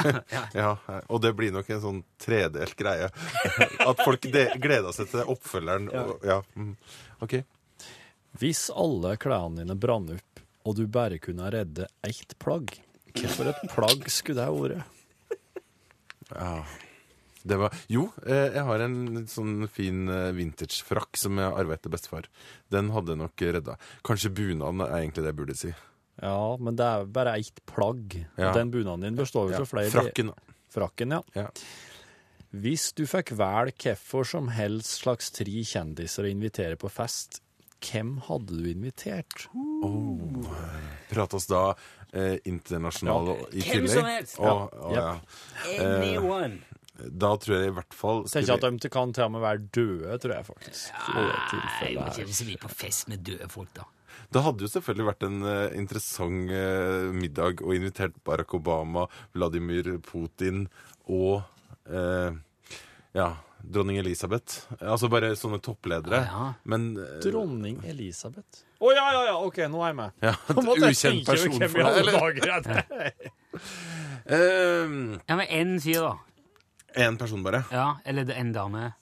S2: ja.
S1: Og det blir nok en sånn tredelt greie. At folk de, gleder seg til oppfølgeren. Og, ja. mm. OK.
S3: Hvis alle klærne dine brann opp, og du bare kunne redde ett plagg, hva for et plagg skulle det ha vært?
S1: Det var, jo, eh, jeg har en litt sånn fin eh, vintagefrakk som jeg arvet etter bestefar. Den hadde jeg nok redda. Kanskje bunaden er egentlig det jeg burde si.
S3: Ja, men det er bare ett plagg.
S1: Ja.
S3: Den bunaden din består jo
S1: Ja.
S3: av flere
S1: Frakken.
S3: Frakken, ja.
S1: Ja.
S3: Hvis du fikk velge hvorfor som helst slags tre kjendiser å invitere på fest, hvem hadde du invitert?
S1: Prate oss da eh, internasjonale i
S2: Hvem
S1: tillegg.
S2: som helst.
S1: Å, å, ja.
S2: Anyone.
S1: Da tror jeg i hvert fall
S3: Tenk
S1: skulle-
S3: at de kan til og med være døde, tror jeg faktisk. i det
S2: Nei, jeg må
S3: tilfellet her.
S2: ikke så mye på fest med døde folk, da.
S1: Det hadde jo selvfølgelig vært en eh, interessant eh, middag og invitert Barack Obama, Vladimir Putin og eh, ja, dronning Elisabeth. Altså bare sånne toppledere.
S2: Ja.
S1: Men eh,
S3: Dronning Elisabeth. Å ja, ja, ja, OK, nå er jeg med.
S1: ja,
S3: Nå
S1: en
S3: måtte jeg
S1: ukjent
S3: tenke over
S1: person
S3: hvem i
S1: for deg,
S3: alle
S1: eller?
S3: dager jeg-
S2: Ja, men én fyr, da.
S1: Én eh, person bare.
S2: Ja, Eller en dame.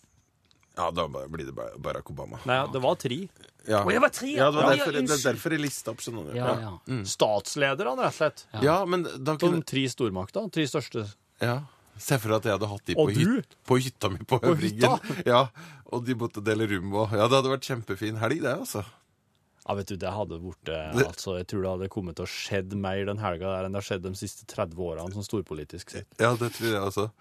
S1: Ja, da bare blir det bare Barack Obama.
S3: Nei, det var tre.
S1: Ja,
S2: Å, jeg var tre,
S1: ja, det var
S2: ja.
S1: derfor,
S2: Ja,
S1: det er
S2: unnskyld.
S1: derfor jeg lista opp, skjønner du.
S2: Ja, ja.
S3: Statslederne, rett og slett.
S1: Mm. ja. men da
S3: De
S1: kunne
S3: tre stormaktene. Tre største.
S1: ja. Se for deg at jeg hadde hatt de på,
S3: Og du?
S1: hyt, på hytta mi på Høvringen. Ja, og de måtte dele rom og Ja, det hadde vært kjempefin helg, det, altså.
S3: Ja, vet du, det hadde vært eh,
S1: Det-
S3: altså, Jeg tror det hadde kommet til å skjedd mer den helga der enn det har skjedd de siste 30 årene, sånn storpolitisk sett.
S1: Ja, det tror jeg også.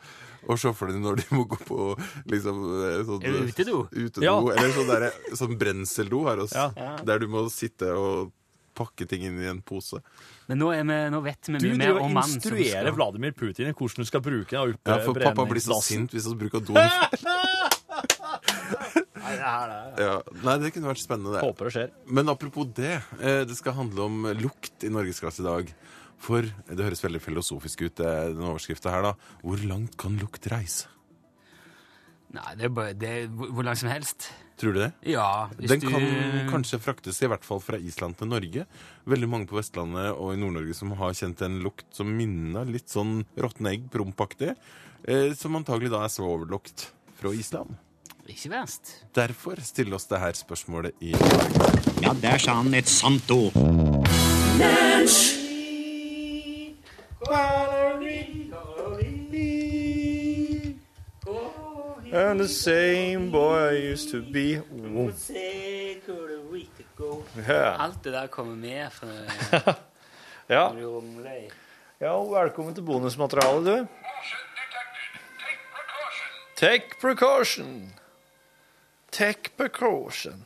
S1: Og se for deg når de må gå på liksom eh, sånn,
S2: Er det utedo?
S1: utedo,
S3: Ja.
S1: Eller sånn, derre- sånn brenseldo her hos,
S3: Ja.
S1: der du må sitte og pakke ting inn i en pose.
S2: Men nå, er vi, nå vet vi
S3: Du
S2: mye mer
S3: driver
S2: om
S3: og
S2: mannen som
S3: instruerer
S2: skal
S3: Vladimir Putin i hvordan du skal bruke den oppe
S1: Ja, for pappa blir så sint hvis han bruker doen. Ja. Nei, det kunne vært spennende, det.
S3: Håper det skjer.
S1: Men apropos det, eh, det skal handle om lukt i norgesklasse i dag. For det høres veldig filosofisk ut, det- den overskriften her, da. Hvor langt kan lukt reise?
S2: Nei, det er bare det er hvor hvor langt som helst.
S1: Tror du det?
S2: Ja, hvis
S1: Den
S2: du
S1: kan kanskje fraktes i hvert fall fra Island til Norge. Veldig mange på Vestlandet og i Nord-Norge som har kjent en lukt som minner litt sånn råtne egg, prompaktig, eh, som antagelig da er svovellukt fra Island.
S2: Ikke verst.
S1: Derfor stiller oss det her spørsmålet i
S8: Ja, der sa han et sant ord.
S9: I'm the same boy I used to be. Whoa. Ja.
S2: Alt det der kommer med fra
S9: Ja.
S2: når du rumler i.
S9: ja, og velkommen til bonusmaterialet, du. Take precaution. Take precaution.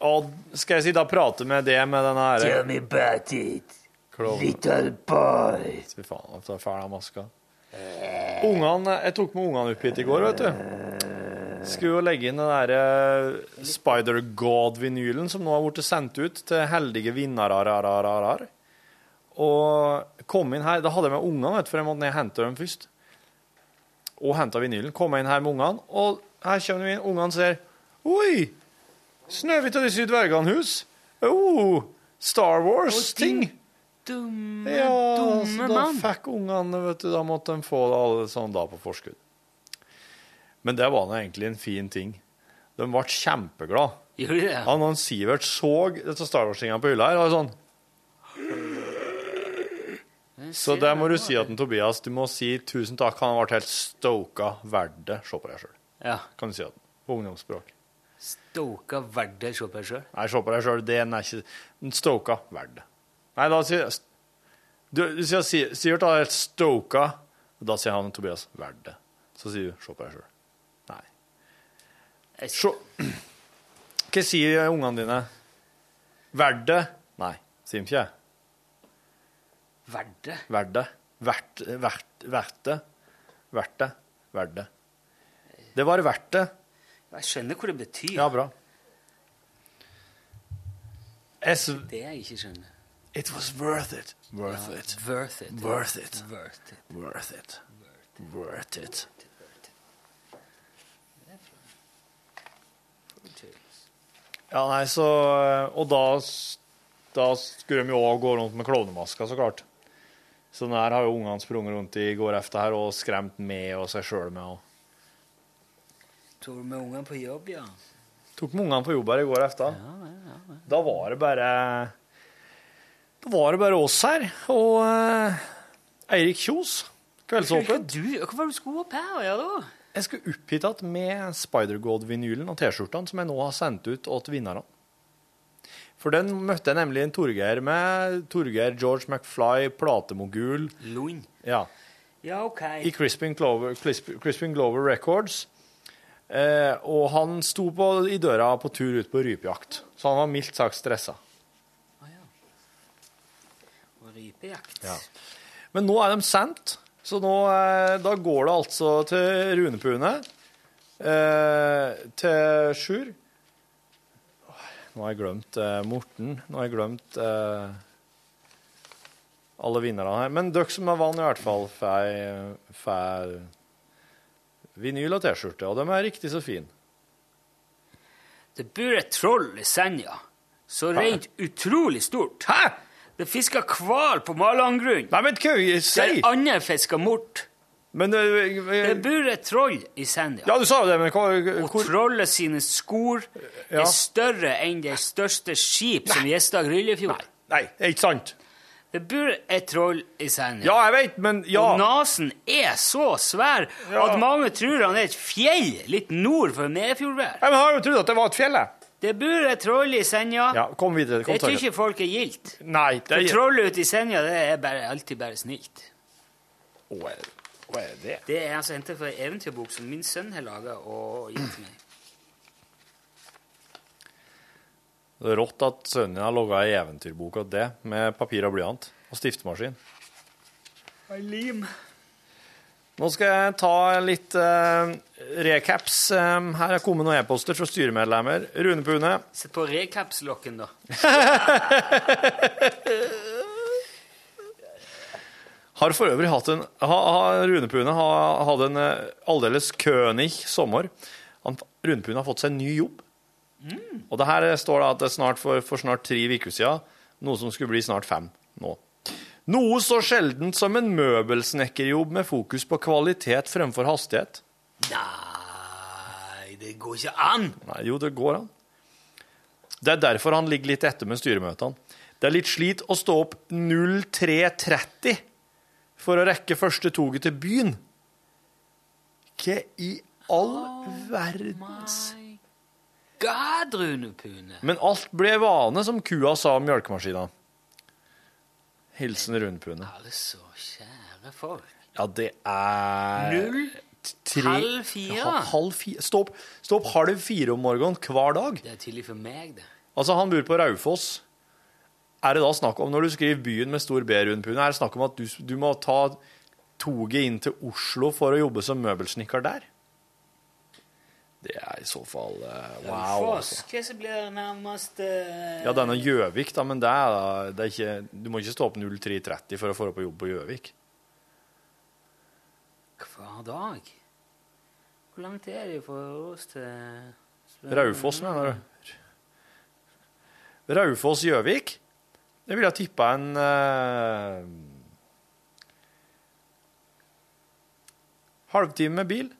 S9: Og skal jeg si da prate med det med denne her
S10: me about it,
S9: klovnen?
S10: little boy.
S9: Fy faen, jeg tar fæl av maska. Ungene, jeg tok med ungene opp hit i går, vet du. Skulle jo legge inn den der eh, Spider-God-vinylen som nå har blitt sendt ut til heldige vinnere. rar, rar, rar, rar. Og kom inn her, Da hadde jeg med ungene, vet du, for jeg måtte ned og hente dem først. Og henta vinylen. Kom jeg inn her med ungene, og her kommer vi inn. Ungene ser Oi! Snøhvit og de syv dvergene hus. Oh, Star Wars-ting.
S2: Dumme,
S9: Ja, så
S2: dumme
S9: da
S2: mann.
S9: fikk ungene, vet du, da måtte de få det alle sånn da på forskudd. Men det var nå egentlig en fin ting. De ble kjempeglade.
S2: Gjorde de det?
S9: Han og Sivert så dette Star Wars-tingene på hylla her, og var sånn Så der må du si at den, Tobias, du må si tusen takk, han ble helt stoka verdt det. Se på deg sjøl,
S2: Ja.
S9: kan du si at den. På ungdomsspråk.
S2: Stoka verdig se på deg sjøl.
S9: Nei, se på deg sjøl, den er ikke den Stoka verdt det. Nei, da sier jeg du, du sier Si- Sivert har helt stoka, og da sier han Tobias verdt det. Så sier du se på deg sjøl. Nei. Se Hva sier ungene dine? Verdt det? Nei, sier de ikke.
S2: Verdig?
S9: Verdt det. Verdt verdt- verdt det. Verdt det. Verdt det. Det var verdt det.
S2: Jeg skjønner hva det betyr.
S9: Ja, bra. Jeg s-
S2: Det jeg ikke skjønner.
S9: It was worth it. Worth it.
S2: Worth it.
S9: Worth it.
S2: Worth it.
S9: Worth it. Worth it. Ja, nei, så eh, Og da, s- da skulle de jo òg gå rundt med klovnemasker, så klart. Så den her har jo ungene sprunget rundt i går efter her og skremt med og seg sjøl med. Og
S2: Tok du med ungene på jobb, ja?
S9: tok med ungene på jobb her i går efter. Da var det bare Da var det bare oss her og eh, Eirik Kjos.
S2: Hva,
S9: Kveldsåpent.
S2: du, hva var det du skulle opp her og gjøre da?
S9: Jeg skulle opp hit igjen med Spider-God-vinylen og T-skjortene som jeg nå har sendt ut til vinnerne. For den møtte jeg nemlig en Torgeir med. Torgeir George McFly, platemogul.
S2: Loin.
S9: Ja.
S2: Ja, OK.
S9: I Crispin Glover, Crisp- Crispin Glover Records. Eh, og han sto på, i døra på tur ut på rypejakt, så han var mildt sagt stressa.
S2: Rypejakt.
S9: Ja. Men nå er de sendt, så nå, eh, da går det altså til Runepune, eh, til Sjur. Åh, Nå har jeg glemt eh, Morten, nå har jeg glemt eh, alle vinnerne her. Men dere som er vann i hvert fall, får får vinyl og T-skjorte, og de er riktig så fine.
S2: Det bor et troll i Senja. Så rent utrolig stort. Hæ? Det fisker hval på Malangrunn.
S9: Nei, men hva
S2: Der
S9: sier
S2: andre fisker mort.
S9: Men eh, eh,
S2: Det bor et troll i Senja.
S9: Ja, du sa jo det, men hva
S2: Og
S9: hvor- Eh,
S2: trollet sine skor
S9: Ja.
S2: er større enn det største skip som gjester Gryllefjord.
S9: Nei, det er ikke sant.
S2: Det bor et troll i Senja.
S9: Ja, jeg vet, men ja.
S2: Og nesen er så svær at mange tror han er et fjell litt nord for Medfjordvær.
S9: Nei, men jeg har jo trodd at det var et fjell, jeg.
S2: Det bor et troll i Senja.
S9: Ja, kom videre. Kom
S2: det tror
S9: til-
S2: ikke folk er gildt.
S9: Nei, det
S2: For
S9: er
S2: trollet ute i Senja det er bare, alltid bare snilt.
S9: Å, er det- å, er det det?
S2: Det er altså hentet fra en eventyrbok som min sønn har laga og gitt meg.
S9: Det er rått at sønnen din har logga ei eventyrbok av det, med papir og blyant og stiftemaskin.
S2: Lim.
S9: Nå skal jeg ta litt eh, recaps. Eh, her er kommet noen e-poster fra styremedlemmer. Rune Pune.
S2: Sett på recapslokken, da.
S9: Har for øvrig hatt en ha, ha, Rune Pune har hatt en eh, aldeles kønig sommer. Han, Rune Pune har fått seg en ny jobb.
S2: Mm.
S9: Og det her eh, står da at det er snart for, for snart tre uker siden, noe som skulle bli snart fem nå. Noe så sjeldent som en møbelsnekkerjobb med fokus på kvalitet fremfor hastighet.
S2: Nei, det går ikke an!
S9: Nei, jo, det går an. Det er derfor han ligger litt etter med styremøtene. Det er litt slit å stå opp 03.30 for å rekke første toget til byen. Hva i all verdens
S2: God, Rune Pune.
S9: Men alt ble vane, som kua sa om mjølkemaskina. Hilsen Rundpune.
S2: Altså, kjære folk.
S9: Ja, det er
S2: Null,
S9: tre-
S2: halv fire.
S9: Ja, halv fire. Stå opp, stå opp halv fire om morgenen hver dag.
S2: Det er tidlig for meg, det.
S9: Altså, han bor på Raufoss. Er det da snakk om, når du skriver byen med stor B rundt pune, er det snakk om at du, du må ta toget inn til Oslo for å jobbe som møbelsnekker der? Det er i så fall eh, wow. Altså.
S2: Hva som blir nærmest eh,
S9: Ja, denne Gjøvik, da, men det er, da- det er ikke, du må ikke stå opp 03.30 for å få deg på jobb på Gjøvik.
S2: Hver dag? Hvor langt er det fra oss til
S9: Raufoss, mener du? Raufoss-Gjøvik? Det ville jeg tippa en eh, Halvtime med bil?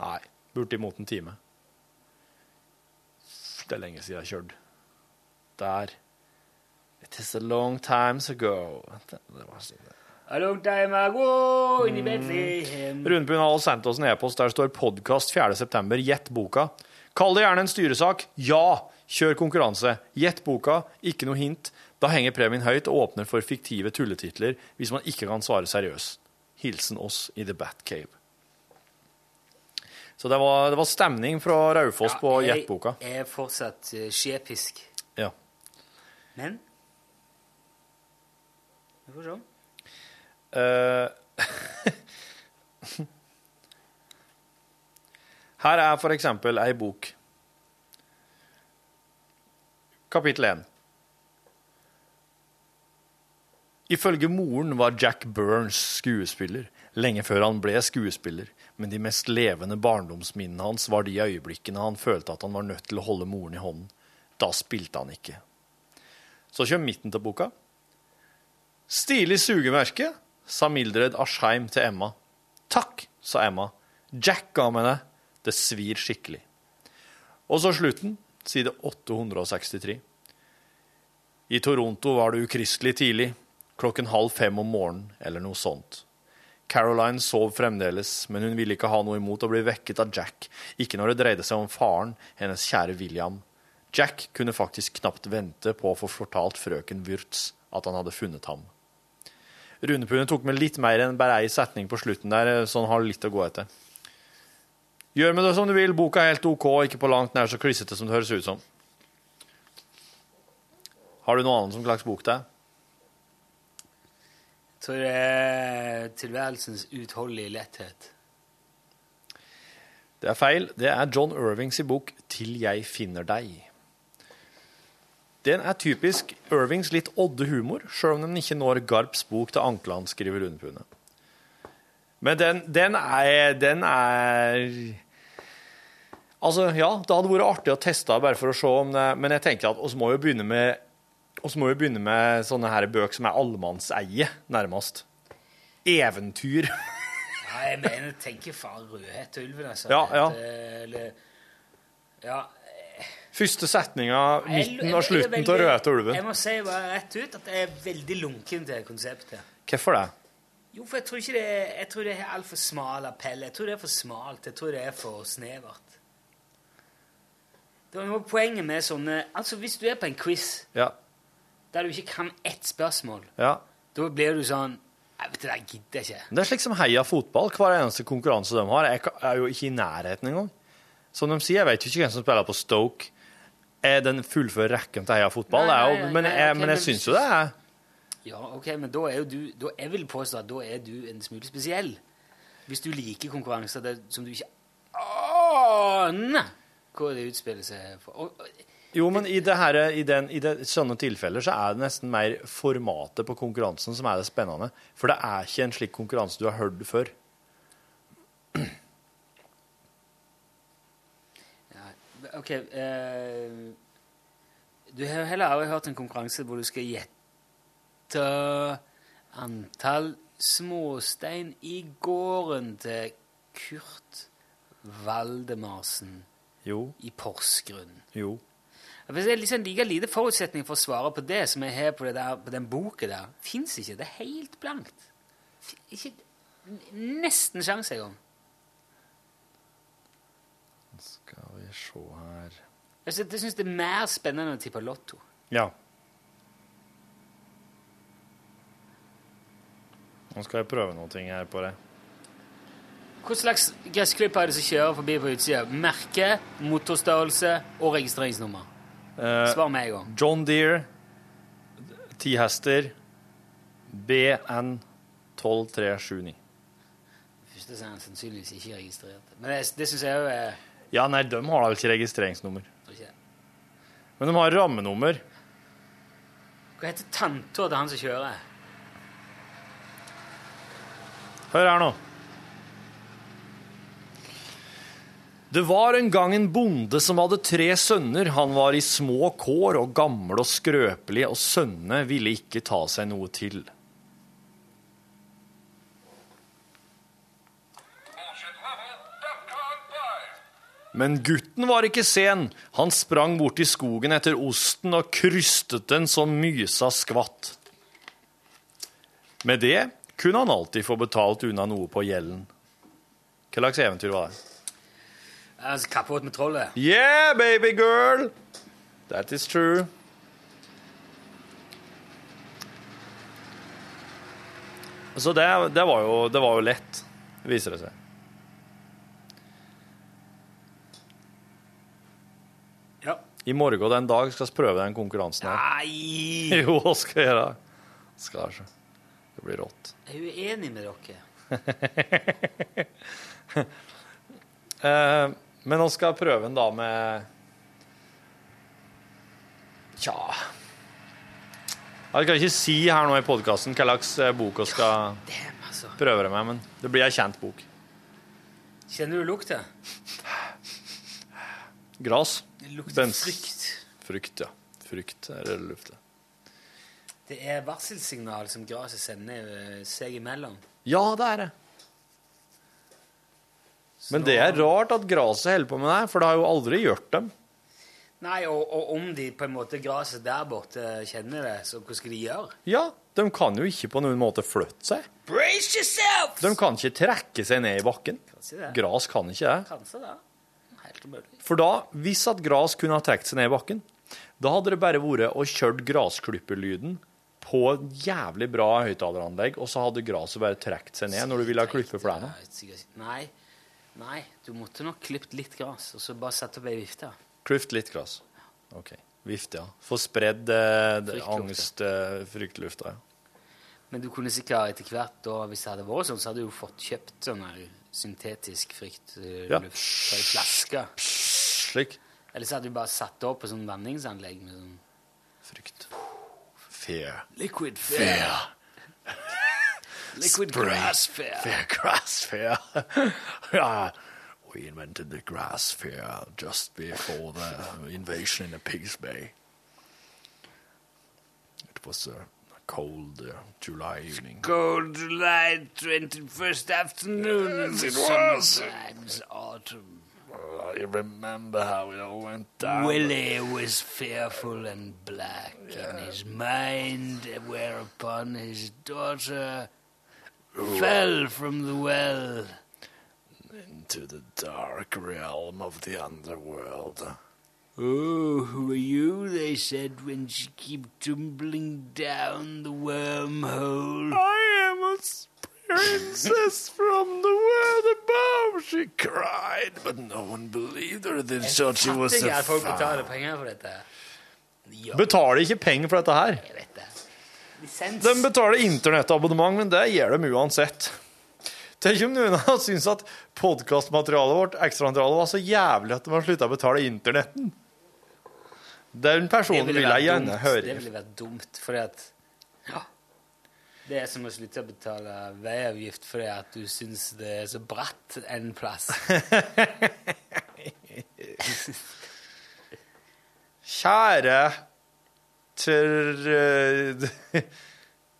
S9: Nei, bortimot en time. Det er lenge siden jeg har kjørt. Der. It is a long time ago. Det det var sånn det.
S2: A long time ago
S9: Mm.
S2: in Bethlehem.
S9: Rundpund har også sendt oss en e-post der det står podkast 4.9. Gjett boka. Kall det gjerne en styresak. Ja! Kjør konkurranse. Gjett boka, ikke noe hint. Da henger premien høyt og åpner for fiktive tulletitler hvis man ikke kan svare seriøst. Hilsen oss i The Batcave. Så det var, det var stemning fra Raufoss på Gjett boka.
S2: Jeg er fortsatt eh, skjepisk.
S9: Ja.
S2: Men Vi får se.
S9: Eh, Her er for eksempel ei bok. Kapittel 1. Ifølge moren var Jack Burns skuespiller, lenge før han ble skuespiller, men de mest levende barndomsminnene hans var de øyeblikkene han følte at han var nødt til å holde moren i hånden. Da spilte han ikke. Så kommer midten til boka. Stilig sugemerke, sa Mildred Asheim til Emma. Takk, sa Emma. Jack ga meg det. Det svir skikkelig. Og så slutten, side 863. I Toronto var det ukristelig tidlig, klokken halv fem om morgenen eller noe sånt. Caroline sov fremdeles, men hun ville ikke ha noe imot å bli vekket av Jack, ikke når det dreide seg om faren, hennes kjære William. Jack kunne faktisk knapt vente på å få fortalt frøken Wurtz at han hadde funnet ham. Runepunnen tok med litt mer enn bare ei setning på slutten der, eh, så han har litt å gå etter. Gjør med det som du vil, boka er helt OK, ikke på langt nær så klissete som det høres ut som. Har du noe annet som slags bok det er?
S2: Tror det er tilværelsens uutholdelige letthet.
S9: Det er feil. Det er John Irvings i bok 'Til jeg finner deg'. Den er typisk Irvings litt odde humor, sjøl om den ikke når Garps bok til Ankeland, skriver Lundepune. Men den, den er Den er Altså, ja, det hadde vært artig å teste bare for å se om det Men jeg tenker at oss må jo begynne med oss må jo begynne med sånne her bøker som er allemannseie, nærmest. Eventyr.
S2: Ja, jeg mener, tenker faen Rødhette ulven, altså.
S9: Ja, ja.
S2: Eh, Eller, ja.
S9: Første setninga,
S2: Jeg- jeg-
S9: midten og
S2: jeg er
S9: slutten av
S2: veldig-
S9: Røde til
S2: Jeg
S9: ulven.
S2: må si bare rett ut at jeg er veldig lunken til konseptet.
S9: Hvorfor det?
S2: Jo, for jeg tror ikke det er, jeg tror det er altfor smal appell. Jeg tror det er for smalt. Jeg tror det er for snevert. Det var noe av poenget med sånne Altså, hvis du er på en quiz
S9: Ja.
S2: der du ikke kan ett spørsmål,
S9: ja.
S2: da blir du sånn Nei, vet du, det gidder jeg ikke.
S9: Men Det er slik som heia fotball. Hver eneste konkurranse de har, jeg ka- er jo ikke i nærheten engang. Som de sier, jeg vet jo ikke hvem som spiller på Stoke. Er den fullfører rekken til heia fotball?
S2: Nei,
S9: Det er
S2: nei,
S9: jo,
S2: nei,
S9: men,
S2: nei,
S9: jeg,
S2: ok,
S9: men jeg
S2: men-
S9: syns jo det er
S2: Ja, ok, men da er jo du da, Jeg vil påstå at da er du en smule spesiell. Hvis du liker konkurranser der, som du ikke aner hvor det utspiller seg for. Og, og,
S9: Jo, men i, det her, i, den, i det, sånne tilfeller så er det nesten mer formatet på konkurransen som er det spennende. For det er ikke en slik konkurranse du har hørt før.
S2: ok eh, Du har jo heller aldri hørt en konkurranse hvor du skal gjette antall småstein i gården til Kurt Valdemarsen
S9: Jo.
S2: i Porsgrunn.
S9: Jo.
S2: Ja, for Det er liksom like lite forutsetning for å svare på det som jeg har på, det der, på den boka der. Fins ikke. Det er helt blankt. Ikke n- Nesten sjanse engang.
S9: Skal vi se her
S2: Jeg syns jeg syns det er mer spennende å tippe Lotto.
S9: Ja. Nå skal jeg prøve noe her på det.
S2: Hva slags gressklipp er det som kjører forbi på utsida? Merke, motorstørrelse og registreringsnummer.
S9: Eh,
S2: Svar med en gang.
S9: John Deere, ti hester, BN 12379.
S2: Første så er han sannsynligvis ikke registrert. Men det, det syns jeg jo er
S9: Ja, nei, de har da ikke registreringsnummer.
S2: tror ikke det.
S9: Men de har rammenummer.
S2: Hva heter tanta til han som kjører?
S9: Hør her nå. Det var en gang en bonde som hadde tre sønner. Han var i små kår og gammel og skrøpelig, og sønnene ville ikke ta seg noe til. Men gutten var ikke sen. Han sprang bort i skogen etter osten og krystet den så mysa skvatt. Med det kunne han alltid få betalt unna noe på gjelden. Hva slags eventyr var det?
S2: Altså, Kappåt med trollet.
S9: Yeah, baby girl! That is true. Så det, det, var jo, det var jo lett, viser det seg.
S2: Ja.
S9: I morgen den dag skal vi prøve den konkurransen her.
S2: Nei!
S9: Jo, hva skal jeg gjøre? Skal jeg se. Det blir rått.
S2: Jeg er uenig med dere.
S9: Eh, men vi skal prøve den da med Tja Jeg kan ikke si her nå i podkasten hva slags eh, bok vi skal
S2: Damn, altså.
S9: prøve det med, men det blir ei kjent bok.
S2: Kjenner du lukta?
S9: Gras.
S2: Det lukter
S9: Bens.
S2: frykt.
S9: Frukt, ja. Frukt er det det lufter.
S2: Det er varselsignal som gresset sender eh, seg imellom.
S9: Ja, det er det. Men det er rart at graset holder på med det, her, for det har jo aldri gjort dem.
S2: Nei, og, og om de på en måte gresset der borte kjenner det, så hva skal de gjøre?
S9: Ja, de kan jo ikke på noen måte flytte seg.
S2: Brace yourself!
S9: De kan ikke trekke seg ned i bakken.
S2: Kanskje det.
S9: Gras kan ikke det.
S2: Kanskje det. Helt alt mulig.
S9: For da, hvis at gras kunne ha trukket seg ned i bakken, da hadde det bare vært å kjørt grasklipperlyden på en jævlig bra høyttaleranlegg, og så hadde graset bare trukket seg ned når du ville ha klippe flena.
S2: Jeg vet sikkert ikke. Nei, nei, du måtte nok klippet litt gras, og så bare satt opp ei vifte.
S9: Klyft litt gras. OK. Vift, ja. Få spredd eh, det- angst, eh, fryktlufta. Ja.
S2: Men du kunne sikkert etter hvert, da, hvis det hadde vært sånn, så hadde du jo fått kjøpt sånn her syntetisk
S9: Ja.
S2: fryktluft fra ei flaske.
S9: Slik.
S2: Eller så hadde du bare satt det opp på sånn vanningsanlegg med sånn
S9: Fear.
S2: Liquid fear. Liquid
S9: Spray.
S2: grass fear.
S9: Fear, grass fear. yeah. We invented the grass fear just before the invasion in the Pigs Bay. It was a cold uh, July evening.
S2: Cold July 21st afternoon.
S9: Yes,
S2: in
S9: it
S2: the
S9: was.
S2: Sometimes autumn.
S9: I remember how it all went down.
S2: Willie was fearful and black in his mind, whereupon his daughter fell from the well.
S9: into the dark realm of the underworld.
S2: Oh, who are you? They said when she kept tumbling down the wormhole.
S9: I am a princess from the world above, she cried, but no one believed her. They thought she was a foul.
S2: penger for dette. Ja,
S9: Betaler ikke penger for dette her.
S2: jeg vet det. Lisens.
S9: De betaler internettabonnement, men det gjør de uansett. Tenk om noen hadde syntes at podkastmaterialet vårt ekstramaterialet, var så jævlig at de har slutta å betale internetten. Den personen vil jeg gjerne
S2: dumt. Det
S9: høre.
S2: ville vært dumt, fordi at Ja. Det er som å slutte å betale veiavgift fordi at du syns det er så bratt en plass.
S9: Kjære tr...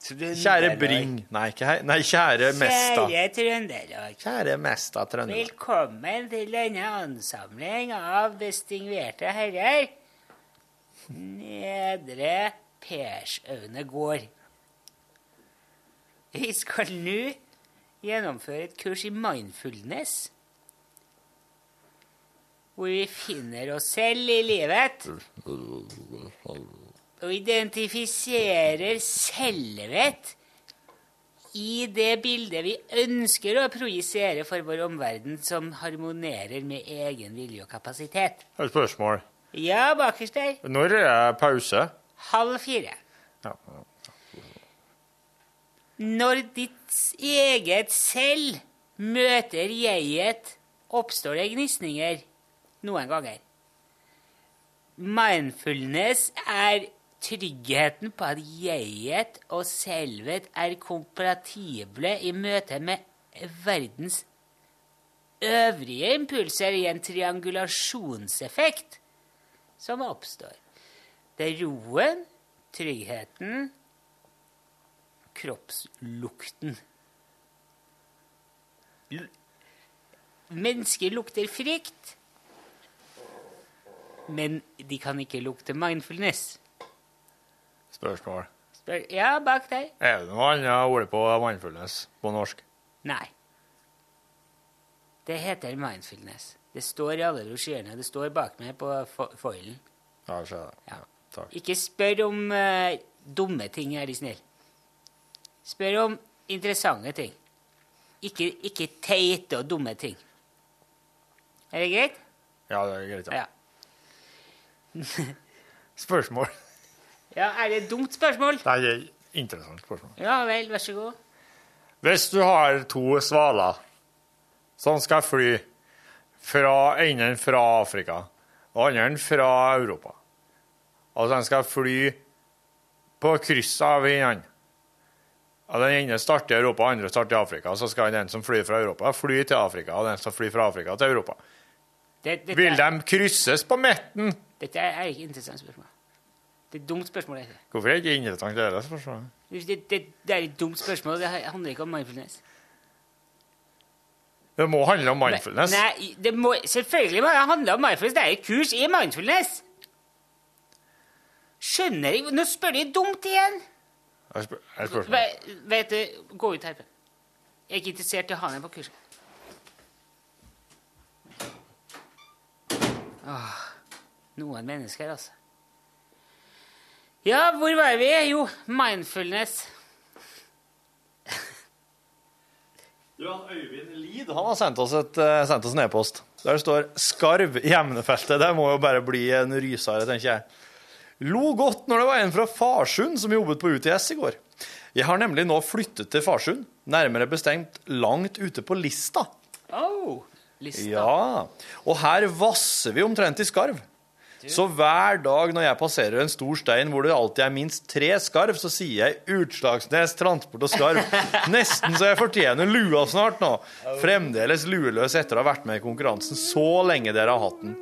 S9: Kjære Bring. Nei, ikke hei- nei kjære Mesta.
S2: Kjære Trøndelag.
S9: Kjære Mesta Trøndelag.
S2: Velkommen til denne ansamling av distingverte herrer. Nedre Persaune gård. Vi skal nå gjennomføre et kurs i mindfulness. Hvor vi finner oss selv i livet og identifiserer selvet i det bildet vi ønsker å projisere for vår omverden, som harmonerer med egen vilje og kapasitet.
S9: Et spørsmål.
S2: Ja, bakerst der.
S9: Når er pause?
S2: Halv fire.
S9: Ja.
S2: Når ditt eget selv møter jeget, oppstår det gnisninger noen ganger. Mindfulness er tryggheten på at jeget og selvet er kompatible i møte med verdens øvrige impulser i en triangulasjonseffekt som oppstår. Det er roen, tryggheten kroppslukten. L Mennesker lukter frykt, men de kan ikke lukte mindfulness.
S9: Spørsmål.
S2: Spør, ja, bak der.
S9: Er det noe annet ord på mindfulness på norsk?
S2: Nei. Det heter mindfulness. Det står i alle brosjyrene. Det står bak meg på fo- foilen.
S9: Ja, så er det. Ja, takk.
S2: Ikke spør om eh, dumme ting, er de snill. Spør om interessante ting. Ikke, ikke teite og dumme ting. Er det greit?
S9: Ja, det er greit.
S2: Ja.
S9: Spørsmål.
S2: ja. Er det et dumt spørsmål?
S9: Nei, det er et interessant spørsmål.
S2: Ja vel, vær så god.
S9: Hvis du har to svaler som skal fly fra enden fra Afrika og andre fra Europa, og de skal fly på kryss av hverandre og Den ene starter i Europa, den andre starter i Afrika. Så skal den som flyr fra Europa, fly til Afrika, og den som flyr fra Afrika til Europa.
S2: Det, dette,
S9: Vil
S2: er,
S9: de krysses på midten?
S2: dette er ikke et interessant spørsmål. Det er et dumt spørsmål. dette.
S9: Hvorfor er det ikke interessant det er det spørsmålet?
S2: Det, det, det er et dumt spørsmål. Det handler ikke om mindfulness.
S9: Det må handle om mindfulness.
S2: Nei, det må, selvfølgelig må det handle om mindfulness. Det er et kurs i mindfulness. Skjønner jeg Nå spør de dumt igjen.
S9: Jeg spør, jeg spør,
S2: Ve, vet du, Gå ut herfra. Jeg er ikke interessert i å ha deg på kurset. Åh, Ah, noen mennesker, altså. Ja, hvor var vi? Jo, mindfulness.
S9: Du, han Øyvind Lid Han har sendt oss, et, eh, sendt oss en e-post. Der står 'Skarv i emnefeltet'. Det må jo bare bli en rysere, tenker jeg. Lo godt når det var en fra Farsund som jobbet på UTS i går. Jeg har nemlig nå flyttet til Farsund, nærmere bestemt langt ute på Lista.
S2: Oh, lista.
S9: Ja, og her vasser vi omtrent i skarv. Så hver dag når jeg passerer en stor stein hvor det alltid er minst tre skarv, så sier jeg 'Utslagsnes, transport og skarv'. Nesten så jeg fortjener lua snart nå. Fremdeles lueløs etter å ha vært med i konkurransen så lenge dere har hatt den.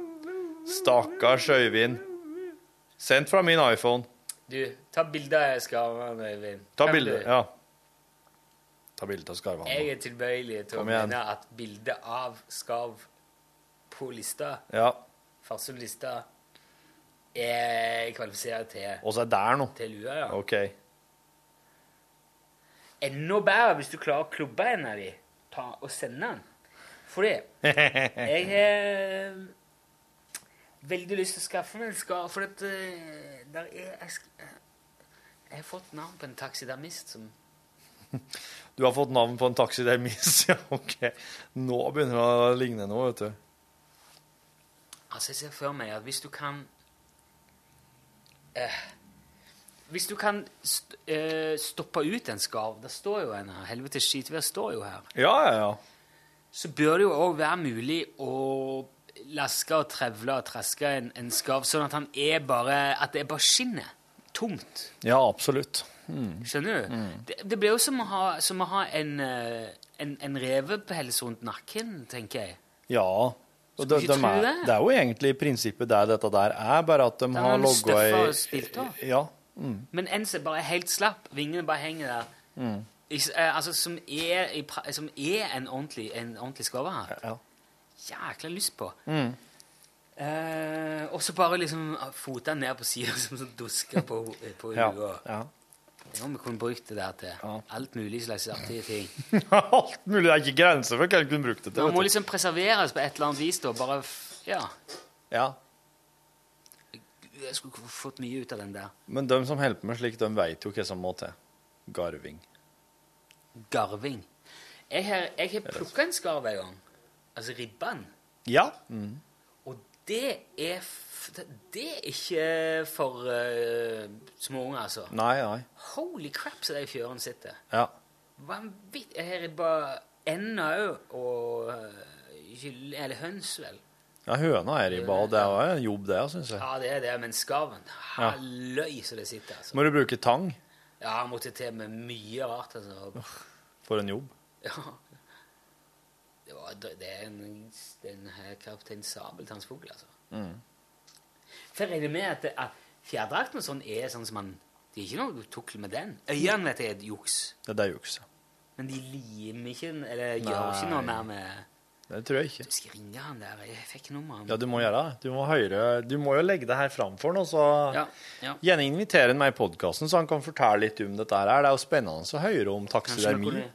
S9: Stakkars Øyvind. Sendt fra min iPhone.
S2: Du, ta bilde av skarvene, Øyvind.
S9: Ta
S2: Kan
S9: bilde.
S2: du?
S9: Ja. Ta bilde av skarvene.
S2: Jeg er tilbøyelig til å
S9: Kom igjen.
S2: mene at bildet av skarv på lista,
S9: Ja.
S2: Farsund-lista, er kvalifisert til,
S9: Og så er der nå.
S2: til lua, ja.
S9: OK.
S2: Enda bedre hvis du klarer å klubbe en av de ta og sende den. Fordi jeg har eh, veldig lyst til å skaffe meg en skarv, for at eh, der er jeg, sk- eh, jeg har fått navn på en taxidermist som
S9: Du har fått navn på en taxidermist, ja, ok. Nå begynner det å ligne noe, vet du.
S2: Altså, jeg ser for meg at hvis du kan eh, Hvis du kan st eh, stoppe ut en skarv Det står jo en her. Helvetes skitvær står jo her.
S9: Ja, ja, ja.
S2: Så bør det jo òg være mulig å laske og trevle og traske en, en skarv, sånn at han er bare At det er bare skinnet. Tomt.
S9: Ja, absolutt.
S2: Skjønner du?
S9: Mm.
S2: Det, det blir jo som å ha, som å ha en, eh, en, en revepels rundt nakken, tenker jeg.
S9: Ja. Og
S2: Skulle ikke tro
S9: er,
S2: det.
S9: det er jo egentlig i prinsippet der dette der er, bare at de
S2: Den
S9: har
S2: har de
S9: logga
S2: støffa og
S9: i
S2: spilt av.
S9: Ja.
S2: Men en som bare er helt slapp, vingene bare henger der.
S9: Mm.
S2: Ikke s- eh, altså, som er, i pra som er en ordentlig, en ordentlig skarvehatt.
S9: Ja. Mm.
S2: Jækla lyst på. Eh, og så bare liksom ah, fote den ned på sida som sånn dusker på, ho- eh, på
S9: Ja.
S2: huet.
S9: ja.
S2: Det er noe vi kunne brukt det der til. Alt mulig slags artige ting.
S9: Alt mulig. Det er ikke grenser for hva en kunne brukt det til.
S2: Man må
S9: Vet du.
S2: liksom preserveres på et eller annet vis, da. Bare f Ja.
S9: Ja.
S2: Jeg skulle ikke fått mye ut av den der.
S9: Men de som holder på med slikt, de vet jo hva som må til. Garving.
S2: Garving. Jeg har, jeg har plukka en skarv en gang. Altså ribban.
S9: Ja.
S2: Og det er, f- det er ikke for uh, småunger, altså.
S9: Nei, nei.
S2: Holy crap, så de fjørene sitter.
S9: Ja.
S2: Vanvittig. Her er bare ender òg, og eh, gyll- Eller høns, vel.
S9: ja høna er i bad. Det er jo en jobb, det, syns jeg.
S2: Ja, det er det, men skarven
S9: Ja.
S2: Halløy, så det sitter, altså.
S9: Må du bruke tang
S2: Ja, han måtte til med mye rart, altså.
S9: for en jobb?
S2: Ja. Det, var, det er en, den her kaptein Sabeltannsfugl, altså.
S9: Mm.
S2: For jeg regner med at, at fjærdrakten og sånn er sånn som man Det er ikke noe tukl med den. Øynene vet jeg er et juks,
S9: Ja, det er juks. ja.
S2: men de limer ikke eller gjør ikke noe mer med
S9: Det tror jeg ikke.
S2: Jeg skal ringe han der. Jeg fikk nummeret.
S9: Ja, du må gjøre det. Du må, høre, du må jo legge det her framfor nå, så
S2: Ja, ja.
S9: gjerne invitere han med i podkasten, så han kan fortelle litt om dette her. Det er jo spennende å høre om
S2: Kanskje
S9: taksidermi.
S2: dere-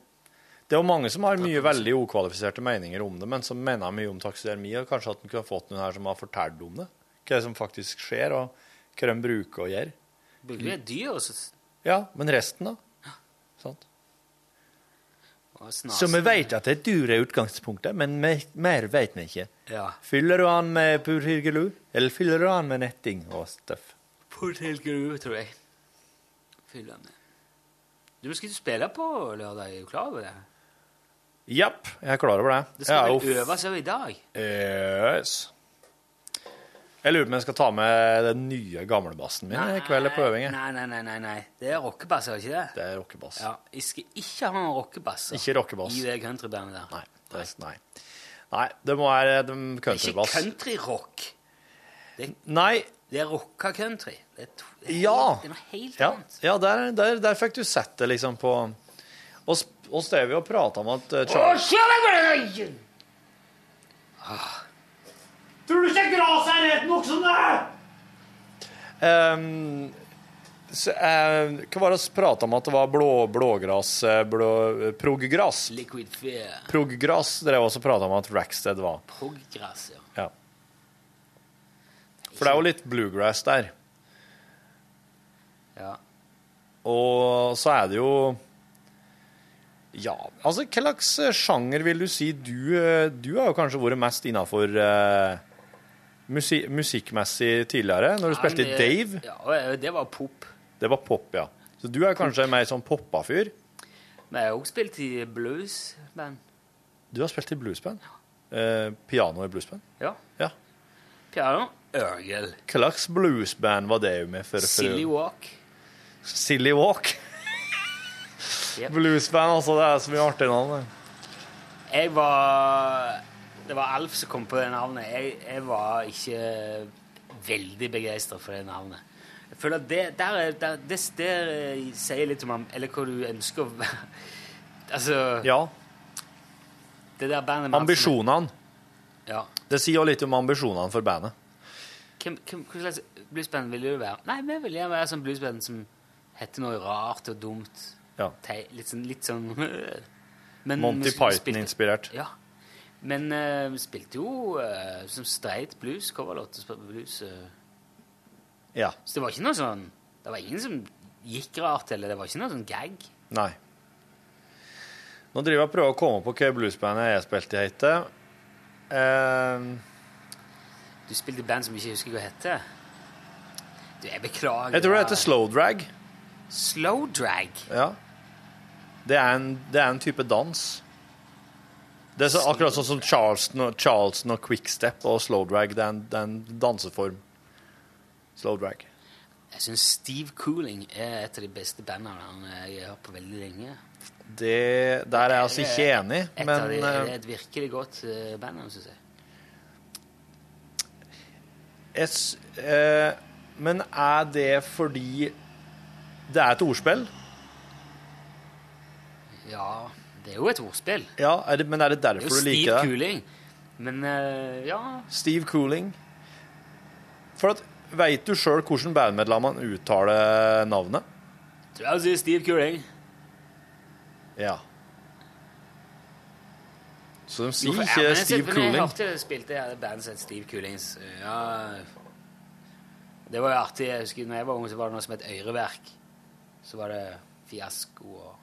S9: Det er jo mange som har mye veldig okvalifiserte meninger om det, men som mener mye om taksidermi, og kanskje at han kunne ha fått noen her som har fortalt om det. Hva som faktisk skjer, og hva de bruker og gjør.
S2: Bruker du et dyr og så
S9: Ja, men resten, da? Sant?
S2: og snasen?
S9: Så vi vet at det er dyr i utgangspunktet, men mer- mer vet vi ikke.
S2: Ja.
S9: Fyller du han med pur hyrgelu, eller fyller du han med netting og støff?
S2: Portelgru, tror jeg. Fyller med. Du skal ikke spille på lørdag, er du klar over det?
S9: Japp, jeg er klar over det.
S2: Det
S9: Jeg er
S2: skal
S9: jo
S2: vel øves òg i dag?
S9: Yes. Jeg lurer på om jeg skal ta med den nye gamlebassen min i kveld på øving. jeg.
S2: Nei, nei, nei, nei, nei. Det er rockebass, er det ikke det?
S9: Det er rockebass.
S2: Ja, Jeg skal ikke ha noen rockebass altså.
S9: Ikke rockebass.
S2: i det countrybandet der.
S9: Nei, det er, nei. nei, det må være de
S2: Ikke
S9: countrybass.
S2: countryrock.
S9: Nei,
S2: Det er rocka country. Det er, to, det er,
S9: Ja.
S2: helt, det er noe helt
S9: ja,
S2: annet.
S9: ja der, der, der fikk du sett det liksom på oss, oss drev jo og prata om at eh, Charles
S11: Ah. Tror du ikke gresset er rett nok som det er?
S9: Ehm, så, eh, Hva var det vi prata om at det var blå, blågras, eh, blå, proggras?
S2: Liquid fear.
S9: Proggras drev også og prata om at Rackstead var.
S2: Proggras, ja.
S9: Ja. For det er jo litt bluegrass der.
S2: Ja.
S9: Og så er det jo Ja, altså hva slags sjanger vil du si du eh, Du har jo kanskje vært mest innafor musikkmessig tidligere, når du spilte i
S2: men, eh,
S9: Dave.
S2: Ja, det var pop.
S9: Det var pop, ja. Så du er kanskje mer sånn poppa-fyr?
S2: Men jeg har også spilt i bluesband.
S9: Du har spilt i bluesband? Eh, piano i bluesband?
S2: Ja.
S9: Ja.
S2: Piano, orgel,
S9: Hva slags bluesband var det med? For, for,
S2: silly walk.
S9: Silly Walk.
S2: Yep.
S9: Bluesband, altså. Det er så mye artig navn. det.
S2: Jeg var Det var Alf som kom på det navnet. Jeg, jeg var ikke veldig begeistra for det navnet. Jeg føler at det der, er- der, det, der eh, sier litt om ham, eller hva du ønsker å være. Altså
S9: Ja.
S2: Det der bandet med
S9: Ambisjonene.
S2: Ja.
S9: Det sier jo litt om ambisjonene for bandet.
S2: Hvem, hvem, hva slags bluesband vil du være? Nei, vi vil gjerne være sånn bluesband som heter noe rart og dumt. Tei- Litt sånn, litt sånn Men
S9: Monty
S2: mus-
S9: Python-inspirert.
S2: Ja. Men eh, vi spilte jo eh, som streit blues, coverlåt og spilte blues. eh.
S9: Ja.
S2: Så det var ikke noe sånn Det var ingen som gikk rart, eller det var ikke noe sånn gag.
S9: Nei. Nå driver jeg og prøver å komme på hva bluesbandet jeg spilte i, heter. Eh,
S2: Du spilte i band som jeg ikke husker hva heter. Du, jeg beklager.
S9: jeg tror det heter Slow Drag.
S2: Slow drag.
S9: Ja. Det er en, det er en type dans. Det er så, akkurat sånn som Charleston og, Charleston og quickstep og slow drag. Det er en, det er en danseform. Slow drag.
S2: Jeg syns Steve Cooling er et av de beste bandene eh, jeg har hørt på veldig lenge.
S9: Det, der er jeg altså ikke enig,
S2: Et av de,
S9: men
S2: det er
S9: eh,
S2: et virkelig godt eh, band, syns jeg.
S9: jeg, s- eh, Men er det fordi det er et ordspill?
S2: Ja, det er jo et ordspill.
S9: Ja, er det, men er det
S2: Det er
S9: derfor
S2: jo
S9: du
S2: Steve
S9: liker det?
S2: Cooling. Men eh, ja
S9: Steve Cooling. For at, Veit du sjøl hvordan bandmedlemmene uttaler navnet?
S2: Tror jeg sier Steve Cooling.
S9: Ja. Så de
S2: Jo,
S9: sier
S2: for- ja,
S9: ikke
S2: men jeg
S9: Steve
S2: spilte-
S9: Cooling.
S2: Jeg hørte det spilte jeg hadde band som het Steve Coolings. Ja, det var jo artig. Jeg husker når jeg var ung, så var det noe som het Øyreverk. Så var det Fiasko og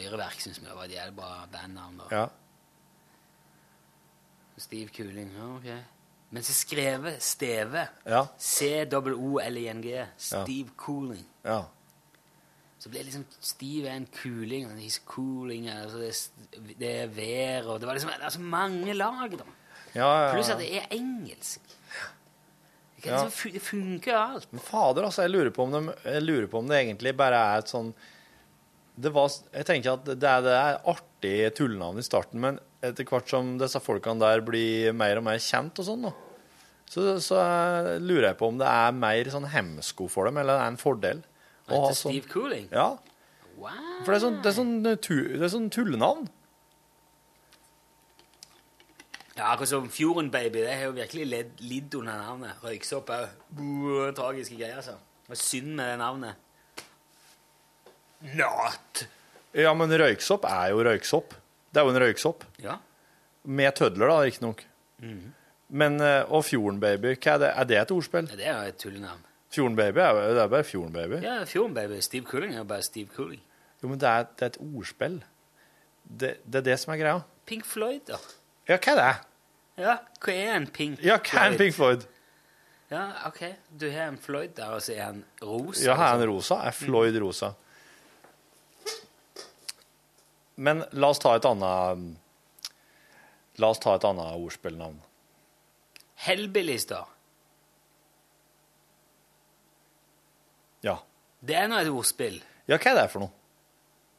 S2: Øyreverk syns vi var et jævlig bra bandnavn. da.
S9: Ja.
S2: Steve Cooling, ja, ok. Men så skrevet Steve.
S9: Ja.
S2: C-O-O-L-I-N-G. Steve Cooling.
S9: ja.
S2: Så ble det liksom Steve er en kuling, og he's cooling, altså det, er, s- det er vær, og det var liksom det er så mange lag, da.
S9: Ja, ja,
S2: Pluss
S9: ja.
S2: at det er engelsk. Det, kan
S9: Ja.
S2: liksom, fu- det funker jo alt.
S9: Men fader, altså, jeg lurer, på om de, jeg lurer på om det egentlig bare er et sånn det var, Jeg tenker at det er, det er artig tullenavn i starten, men etter hvert som disse folkene der blir mer og mer kjent og sånn, da, så, så eh, lurer jeg på om det er mer sånn hemsko for dem, eller det er en fordel. å
S2: Etter
S9: ha
S2: Steve Cooling?
S9: sånn. Ja,
S2: Wow.
S9: for det er sånn, det er sånn, tu- det er sånn tullenavn.
S2: Ja, akkurat som Fjorden Baby. Det har jo virkelig ledd- lidd under navnet. Røyksopp òg. Tragiske greier, altså. Det var synd med det navnet. Not!
S9: Ja, men røyksopp er jo røyksopp. Det er jo en røyksopp.
S2: Ja.
S9: Med tødler, da, riktignok.
S2: Mhm.
S9: Men, eh, og Fjordenbaby, hva er det? Er det et ordspill?
S2: Ja, Det er jo et tullenavn.
S9: Fjordenbaby er, jo- det er bare Fjordenbaby.
S2: Ja, Fjorden Baby. Steve Cooling er jo bare Steve Cooling.
S9: Jo, men det er, det er et ordspill. Det, det er det som er greia.
S2: Pink Floyd, da.
S9: Ja, hva er det?
S2: Ja, hva er en Pink
S9: Ja, hva er en Pink Floyd?
S2: Ja, ok. Du har en Floyd der, og så er han rosa.
S9: Ja, her er en rosa. Er Floyd rosa? Men la oss ta et annet La oss ta et annet ordspillnavn.
S2: liksom. Hellbillies, da.
S9: Ja.
S2: Det er nå et ordspill.
S9: Ja, hva er det for noe?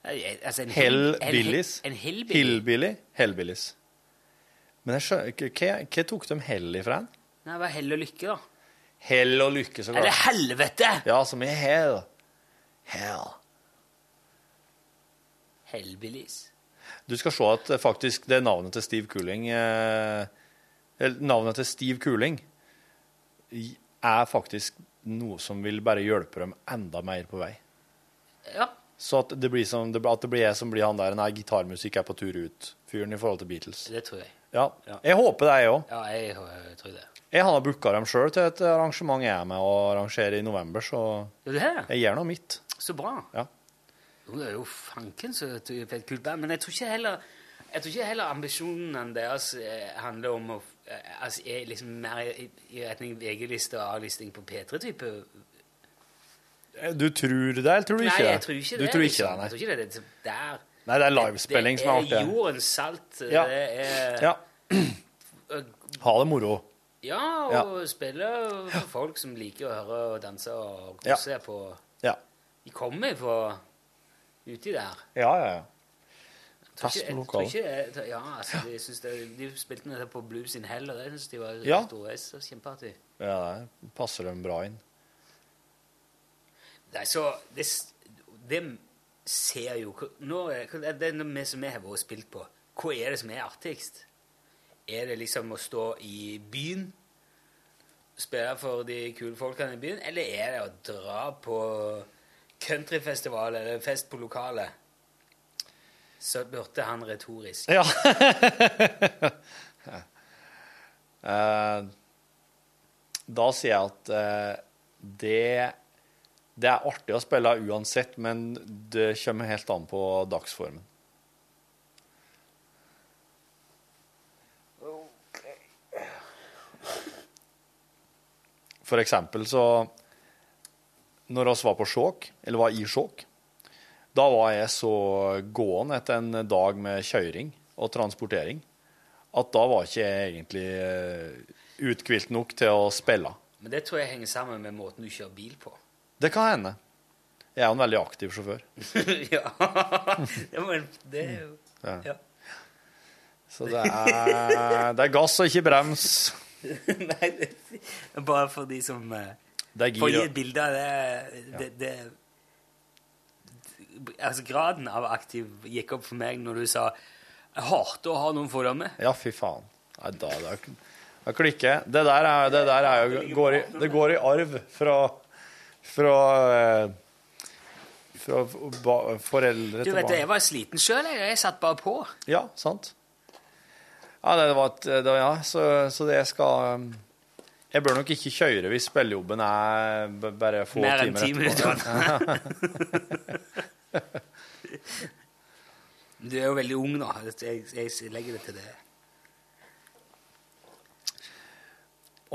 S2: Eh, Altså, en hell- en
S9: Hellbillies?
S2: he- En hellbilly?
S9: Hillbilly? Hellbillies. Men jeg skjønner ikke- hva, hva tok de hell ifra? hen?
S2: Nei, det var hell og lykke, da.
S9: Hell og lykke, så klart.
S2: Eller helvete!
S9: Ja, som i hell. Hell.
S2: Hellbillies.
S9: Du skal se at eh, faktisk det navnet til Steve Cooling eh, eller Navnet til Steve Cooling i- er faktisk noe som vil bare hjelpe dem enda mer på vei.
S2: Ja,
S9: Så at det blir, som, det- at det blir jeg som blir han der Nei, gitarmusikk er på tur ut-fyren i forhold til Beatles.
S2: Det tror jeg.
S9: Ja.
S2: Ja.
S9: Jeg håper det, jeg òg.
S2: Ja, jeg øh, tror det.
S9: Jeg har booka dem sjøl til et arrangement jeg er med og arrangerer i november, så
S2: Ja, du har det?
S9: jeg gjør nå mitt.
S2: Så bra.
S9: Ja.
S2: Jo, det er jo fanken så et et kult band. Men jeg tror ikke heller, jeg tror ikke heller ambisjonene deres eh, handler om å eh, altså, er liksom mer i, i retning VG-liste og A-listing på P3-type.
S9: Eh, Du tror det, eller tror du
S2: Nei,
S9: ikke det?
S2: jeg tror ikke
S9: Du
S2: det.
S9: tror ikke
S2: liksom.
S9: det, nei.
S2: Jeg tror ikke det, det, det er
S9: Nei, det er livespilling som er
S2: Det er
S9: artig.
S2: jordens salt.
S9: Ja.
S2: Det er
S9: Ja. Ha det moro.
S2: Ja, og spille for folk som liker å høre og danse og kose seg på
S9: Ja.
S2: De kommer fra uti der.
S9: Ja, ja, ja.
S2: Tror
S9: Fest
S2: ikke- jeg
S9: på
S2: tror
S9: lokalet.
S2: ikke- jeg tror- Ja, altså, jeg synes det, de spilte nettopp på Blues in Hell, og det synes de var
S9: Ja.
S2: storveis og kjempeartig.
S9: Ja, det passer dem bra inn.
S2: Nei, så det, s- det ser jo hva- Nå er hva- det er noe vi som vi har vært og spilt på. Hva er det som er artigst? Er det liksom å stå i byen, spille for de kule folkene i byen, eller er det å dra på countryfestival eller fest på lokalet? Så burde han retorisk.
S9: Ja. Eh, da sier jeg at eh, det Det er artig å spille uansett, men det kommer helt an på dagsformen. For eksempel så Når oss var på Skjåk, eller var i Skjåk, da var jeg så gåen etter en dag med kjøring og transportering at da var ikke jeg egentlig eh, uthvilt nok til å spille.
S2: Men det tror jeg henger sammen med måten du kjører bil på.
S9: Det kan hende. Jeg er jo en veldig aktiv sjåfør.
S2: ja. Det, var, det er jo
S9: Ja.
S2: ja.
S9: Så det er, det er gass og ikke brems.
S2: Nei, det, bare for de som eh,
S9: Det er gir
S2: Får gi
S9: og-
S2: et bilde av det, det, det Altså, graden av aktiv gikk opp for meg når du sa jeg hater å ha noen fordommer.
S9: Ja, fy faen. Nei, da, da, da klikker jeg. Det der, er, det der er jo, går, i, det går i arv fra, fra, eh, fra ba, foreldre
S2: Du
S9: til
S2: vet,
S9: barn.
S2: Jeg var sliten sjøl, jeg. Jeg satt bare på.
S9: Ja, sant. Ja, det var et, det, var- ja så, så det skal um, Jeg bør nok ikke kjøre hvis spillejobben er b- bare få
S2: Mer enn
S9: timer
S2: ti minutter. Du er jo veldig ung nå. Jeg, jeg legger det til det.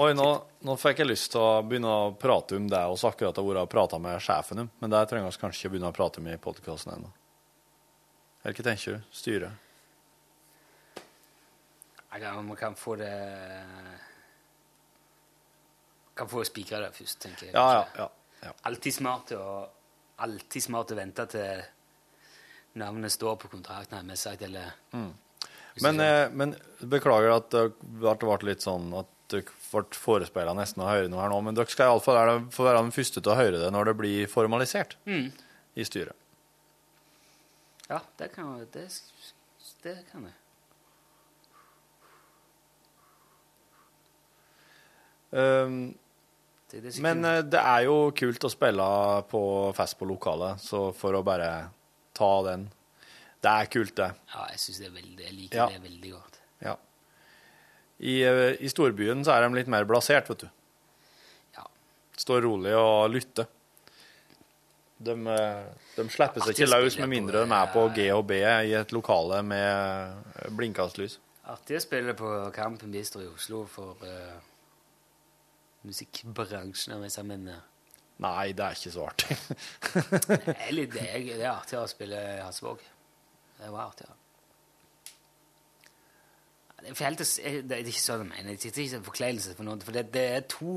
S9: Oi, nå, nå fikk jeg lyst til å begynne å prate om det vi akkurat har vært og prata med sjefen om, men det trenger vi kanskje ikke begynne å prate om i podkasten ennå. Eller hva tenker du? Styret?
S2: Jeg kan, man kan få det Kan få spikra det først, tenker jeg.
S9: Ja, ja.
S2: kanskje.
S9: ja.
S2: Alltid smart å Alltid smart å vente til navnet står på kontrakten, har jeg sagt, eller
S9: Mm. Men, eh, men beklager at det ble- ble litt sånn at dere ble forespeila nesten å høre noe her nå, men dere skal iallfall være, få være den første til å høre det når det blir formalisert
S2: Mm.
S9: i styret. Mm.
S2: Ja, det kan jeg. Det, det kan jeg.
S9: Um,
S2: det er sikkert-
S9: men eh, det er jo kult å spille på fest på lokalet, så for å bare ta den Det er kult, det.
S2: Ja, jeg synes det er veldig Jeg liker
S9: Ja.
S2: det veldig godt.
S9: Ja. I, eh, I storbyen så er de litt mer blasert, vet du.
S2: Ja.
S9: Står rolig og lytter. De, eh, de slipper seg
S2: Artig å
S9: ikke løs
S2: spille
S9: med
S2: på,
S9: mindre de er på G og B i et lokale med eh, blinkanslys.
S2: Artig å spille på Kampen Bistro i Oslo for eh, musikkbransjen, om jeg sier men, eh,
S9: Nei, det er ikke så artig.
S2: det er litt- det er, det er artigere å spille i Hasvåg. Det var artigere. Det er, for helt, å s- eh, det er ikke sånn jeg mener. Det er ikke en forkleinelse for noen. For det, det er to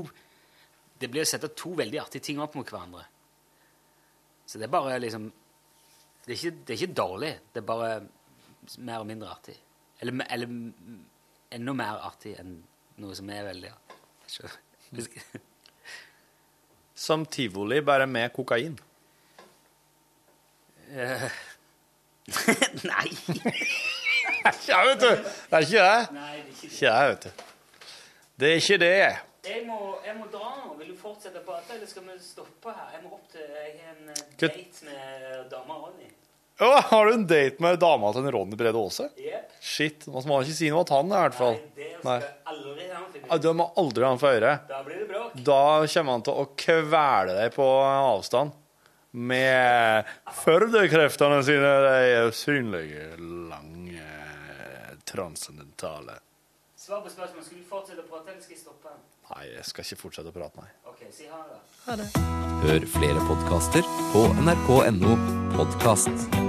S2: Det blir å sette to veldig artige ting opp mot hverandre. Så det er bare liksom Det er ikke, det er ikke dårlig. Det er bare mer og mindre artig. Eller, me- eller m- enda mer artig enn noe som er veldig artig. Skjønner.
S9: Som tivoli, bare med kokain.
S2: Eh, Nei!
S9: Ja, vet du! Det er ikke det. Ikke det, vet du. Det er ikke det.
S2: Jeg må, jeg må dra nå. Vil du fortsette å prate, eller skal vi stoppe her? Jeg må opp til Jeg har en eh,
S9: Kutt.
S2: date med dama Ronny.
S9: Å, har du en date med dama til en Ronny Brede Aase?
S2: Jep.
S9: Shit. Man må ikke si noe til han, i hvert fall. Nei.
S2: Aldri har han fikk
S9: Ja, Du må aldri ha han for øre.
S2: Da blir det bråk.
S9: Da kommer han til å kvele deg på avstand. Med førdekreftene sine, de synlige, lange, transcendentale
S2: Svar på spørsmålet. Skal du fortsette å prate, eller skal jeg stoppe?
S9: Nei, jeg skal ikke fortsette å prate, nei.
S2: OK, si ha det. da.
S12: Hør flere podkaster på nrk.no podkast.